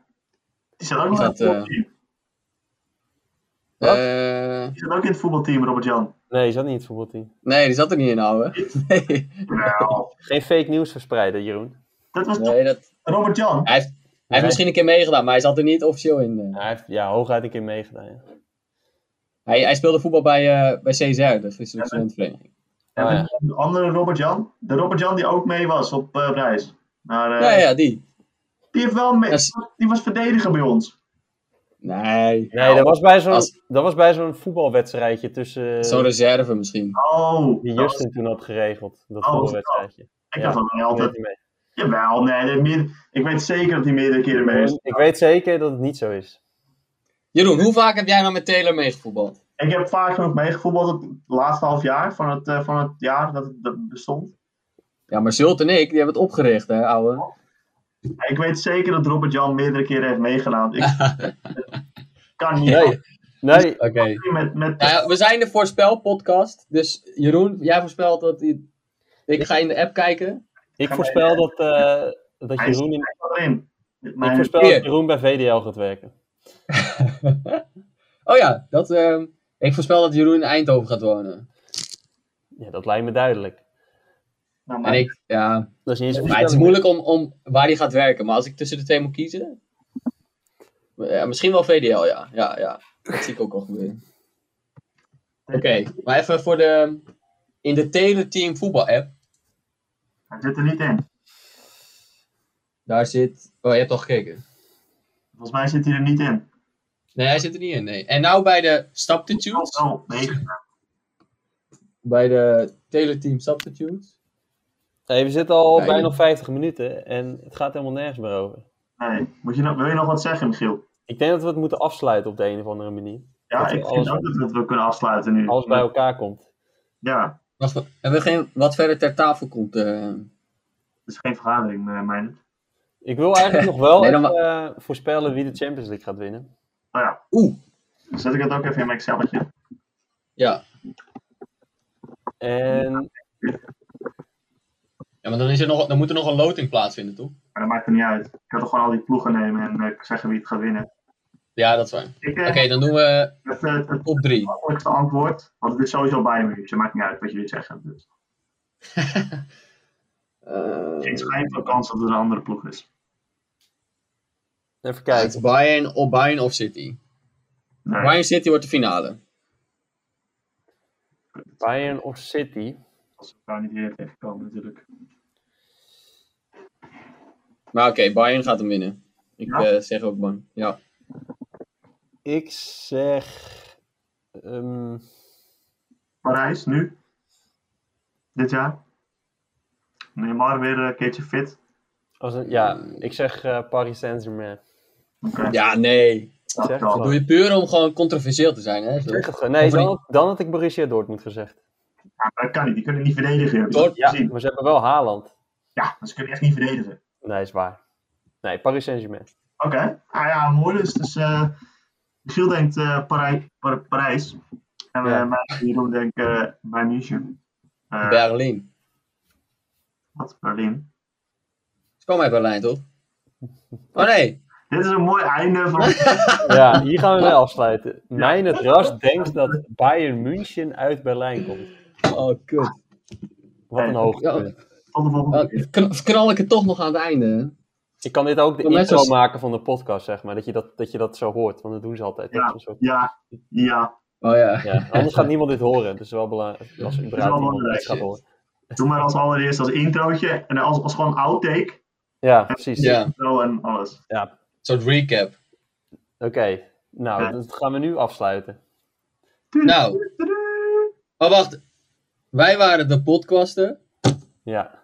Speaker 1: Die zat ook nog
Speaker 3: Is
Speaker 1: in het
Speaker 3: dat, eh,
Speaker 1: voetbalteam.
Speaker 2: Wat?
Speaker 3: Eh,
Speaker 1: Die zat ook in het voetbalteam, Robert Jan.
Speaker 2: Nee, is dat niet het voetbalteam?
Speaker 3: nee, die zat er niet in, ouwe. Nee,
Speaker 1: Nou,
Speaker 2: Geen fake nieuws verspreiden, Jeroen.
Speaker 1: dat was toch
Speaker 3: nee dat,
Speaker 1: Robert Jan.
Speaker 3: hij heeft, hij heeft misschien een keer meegedaan, maar hij zat er niet officieel in. eh.
Speaker 2: Hij heeft ja, hooguit een keer meegedaan. Ja.
Speaker 3: Hij, hij speelde voetbal bij, eh bij CZR, de Friese Studentenvereniging.
Speaker 1: En
Speaker 2: Oh, ja.
Speaker 1: de andere Robert Jan. De Robert Jan die ook mee was op eh reis. Maar eh,
Speaker 3: Ja, ja, die.
Speaker 1: die heeft wel mee.
Speaker 3: Dat is-
Speaker 1: Die was verdediger bij ons.
Speaker 3: Nee,
Speaker 2: Nee, dat was bij zo'n,
Speaker 3: als-
Speaker 2: dat was bij zo'n voetbalwedstrijdje tussen eh,
Speaker 3: zo'n reserve misschien.
Speaker 1: Oh,
Speaker 2: die
Speaker 1: dat was-
Speaker 2: Justin toen had geregeld. Dat
Speaker 1: Oh,
Speaker 2: voetbalwedstrijdje.
Speaker 1: ik
Speaker 2: ja.
Speaker 1: dacht dat hij
Speaker 2: Ik weet,
Speaker 1: altijd.
Speaker 2: niet meer.
Speaker 1: Jawel, nee, dat meer, ik weet zeker dat hij meerdere keren mee is.
Speaker 2: ik weet zeker dat het niet zo is.
Speaker 3: Jeroen, hoe vaak heb jij nou met Taylor meegevoetbald?
Speaker 1: Ik heb vaak genoeg meegevoetbald het laatste half jaar van het, eh, van het jaar dat het dat bestond.
Speaker 3: Ja, maar Zult en ik, die hebben het opgericht, hè, ouwe.
Speaker 1: Ik weet zeker dat Robert Jan meerdere keren heeft meegedaan. Ik kan niet.
Speaker 2: Nee, nee
Speaker 3: Oké.
Speaker 1: Met, met,
Speaker 3: Nou ja, we zijn de voorspelpodcast. Dus Jeroen, jij voorspelt dat... die- Ik ga in de app kijken.
Speaker 2: ik voorspel dat, eh, dat,
Speaker 1: hij is-
Speaker 2: Jeroen in,
Speaker 1: hij staat erin.
Speaker 2: ik
Speaker 1: Mijn-
Speaker 2: voorspel dat
Speaker 3: Hier.
Speaker 2: Jeroen bij VDL gaat werken.
Speaker 3: Oh ja, dat, ehm, ik voorspel dat Jeroen in Eindhoven gaat wonen.
Speaker 2: Ja, dat lijkt me duidelijk.
Speaker 1: nou,
Speaker 3: En
Speaker 1: mijn-
Speaker 3: ik, ja...
Speaker 2: Dat is niet eens een
Speaker 3: Maar het is
Speaker 2: voorspelling.
Speaker 3: moeilijk om, om waar hij gaat werken. Maar als ik tussen de twee moet kiezen... Ja, misschien wel VDL, ja. Ja, ja. Dat zie ik ook al gebeuren. Oké, maar even voor de... In de Taylor Team voetbal app.
Speaker 1: Hij zit er niet in.
Speaker 3: Daar zit... Oh, je hebt al gekeken.
Speaker 1: Volgens mij zit hij er niet in.
Speaker 3: Nee, hij zit er niet in, nee. En nou bij de
Speaker 1: Oh,
Speaker 3: substitutes.
Speaker 1: wel, nee.
Speaker 3: Bij de teleteam substitutes.
Speaker 2: Hey, we zitten al
Speaker 3: Ja,
Speaker 2: bijna
Speaker 3: je-
Speaker 2: op 50 minuten en het gaat helemaal nergens meer over.
Speaker 1: nee. Moet je nog, wil je nog wat zeggen, Giel?
Speaker 2: Ik denk dat we het moeten afsluiten op de een of andere manier.
Speaker 1: Ja,
Speaker 2: Dat we
Speaker 1: ik vind
Speaker 2: alles-
Speaker 1: ook dat we het wel kunnen afsluiten nu.
Speaker 2: Alles bij elkaar komt.
Speaker 1: Ja,
Speaker 3: Wacht, hebben we geen wat verder ter tafel komt? eh?
Speaker 1: het is geen vergadering, mijn. mijn.
Speaker 2: Ik wil eigenlijk nog wel
Speaker 3: Nee, dan
Speaker 2: even, eh, voorspellen wie de Champions League gaat winnen.
Speaker 1: Nou ja,
Speaker 3: Oeh,
Speaker 1: dan zet ik het ook even in mijn Excelletje.
Speaker 3: ja.
Speaker 2: En
Speaker 3: Ja, Ja, maar dan, is er nog, dan moet er nog een loting plaatsvinden, toch?
Speaker 1: Maar dat maakt er niet uit. Ik kan toch gewoon al die ploegen nemen en eh, zeggen wie het gaat winnen.
Speaker 3: Ja, dat is waar. Oké,
Speaker 1: Ik denk
Speaker 3: dan doen we
Speaker 1: dat eh, het
Speaker 3: op drie.
Speaker 1: makkelijkste antwoord, want het is sowieso bij me, dus het maakt niet uit wat je dit zegt. Dus.
Speaker 3: Eh,
Speaker 1: Geen schijn van kans dat er een andere ploeg is.
Speaker 2: Even kijken.
Speaker 3: Kijk, Bayern, of Bayern of City.
Speaker 1: Nee.
Speaker 3: Bayern City wordt de finale.
Speaker 2: Bayern of City?
Speaker 1: Als we daar niet weer tegenkomen, natuurlijk.
Speaker 3: Maar oké, Bayern gaat hem winnen. Ik
Speaker 1: Ja?
Speaker 3: eh, zeg ook Bayern. Ja.
Speaker 2: Ik zeg. ehm,
Speaker 1: Parijs, nu. Dit jaar. Neymar weer een keertje fit.
Speaker 2: als een- ja, ik zeg eh, Paris Saint-Germain.
Speaker 1: Oké,
Speaker 3: ja, nee.
Speaker 1: dat
Speaker 2: zeg
Speaker 1: wel.
Speaker 2: het
Speaker 3: Dat doe je puur om gewoon controversieel te zijn, hè? Zo.
Speaker 2: Zeg het gewoon. Eh, Nee,
Speaker 3: Of
Speaker 2: dan,
Speaker 3: niet?
Speaker 2: had- dan had ik Borussia Dortmund gezegd.
Speaker 1: Ja, maar dat kan niet, die kunnen niet verdedigen. Heb je
Speaker 3: Dorp-
Speaker 1: dat
Speaker 2: Ja,
Speaker 1: gezien?
Speaker 2: maar ze hebben wel Haaland.
Speaker 1: ja, maar ze kunnen echt niet verdedigen.
Speaker 2: Nee, is waar. Nee, Paris Saint-Germain.
Speaker 1: Oké, ah ja, mooi dus. dus eh, Michiel denkt eh, Parij- Par- Parijs. En
Speaker 2: Ja.
Speaker 1: eh, mij en Jeroen denkt eh bij München. Eh,
Speaker 3: Berlijn.
Speaker 1: Wat, Berlin.
Speaker 3: Ze komen uit Berlijn, toch? Oh nee.
Speaker 1: Dit is een mooi einde van...
Speaker 2: Ja, hier gaan we mee afsluiten. Mijn het ras denkt dat Bayern München uit Berlijn komt.
Speaker 3: Oh, kut.
Speaker 2: Wat een hoogte.
Speaker 1: Tot de volgende
Speaker 3: Oh,
Speaker 1: keer.
Speaker 3: kn- knal ik het toch nog aan het einde, hè?
Speaker 2: Ik kan dit ook de
Speaker 3: Kom, net
Speaker 2: intro
Speaker 3: als-
Speaker 2: maken van de podcast, zeg maar. Dat je dat, dat je dat zo hoort, want dat doen ze altijd. Dat is een soort-
Speaker 1: Ja, ja.
Speaker 3: Oh ja.
Speaker 2: Ja, anders gaat niemand dit horen. Dus wel belangrijk als überhaupt
Speaker 1: wel
Speaker 2: iemand dit
Speaker 1: belangrijk,
Speaker 2: gaat
Speaker 3: ja.
Speaker 2: horen.
Speaker 1: Doe maar als allereerst als introotje en als, als gewoon outtake.
Speaker 2: Ja, precies.
Speaker 3: Ja, een
Speaker 1: Zo en alles.
Speaker 3: soort recap.
Speaker 2: Oké, nou,
Speaker 1: Ja.
Speaker 2: dat gaan we nu afsluiten.
Speaker 3: Nou. Maar wacht. Wij waren de podcasten.
Speaker 2: Ja.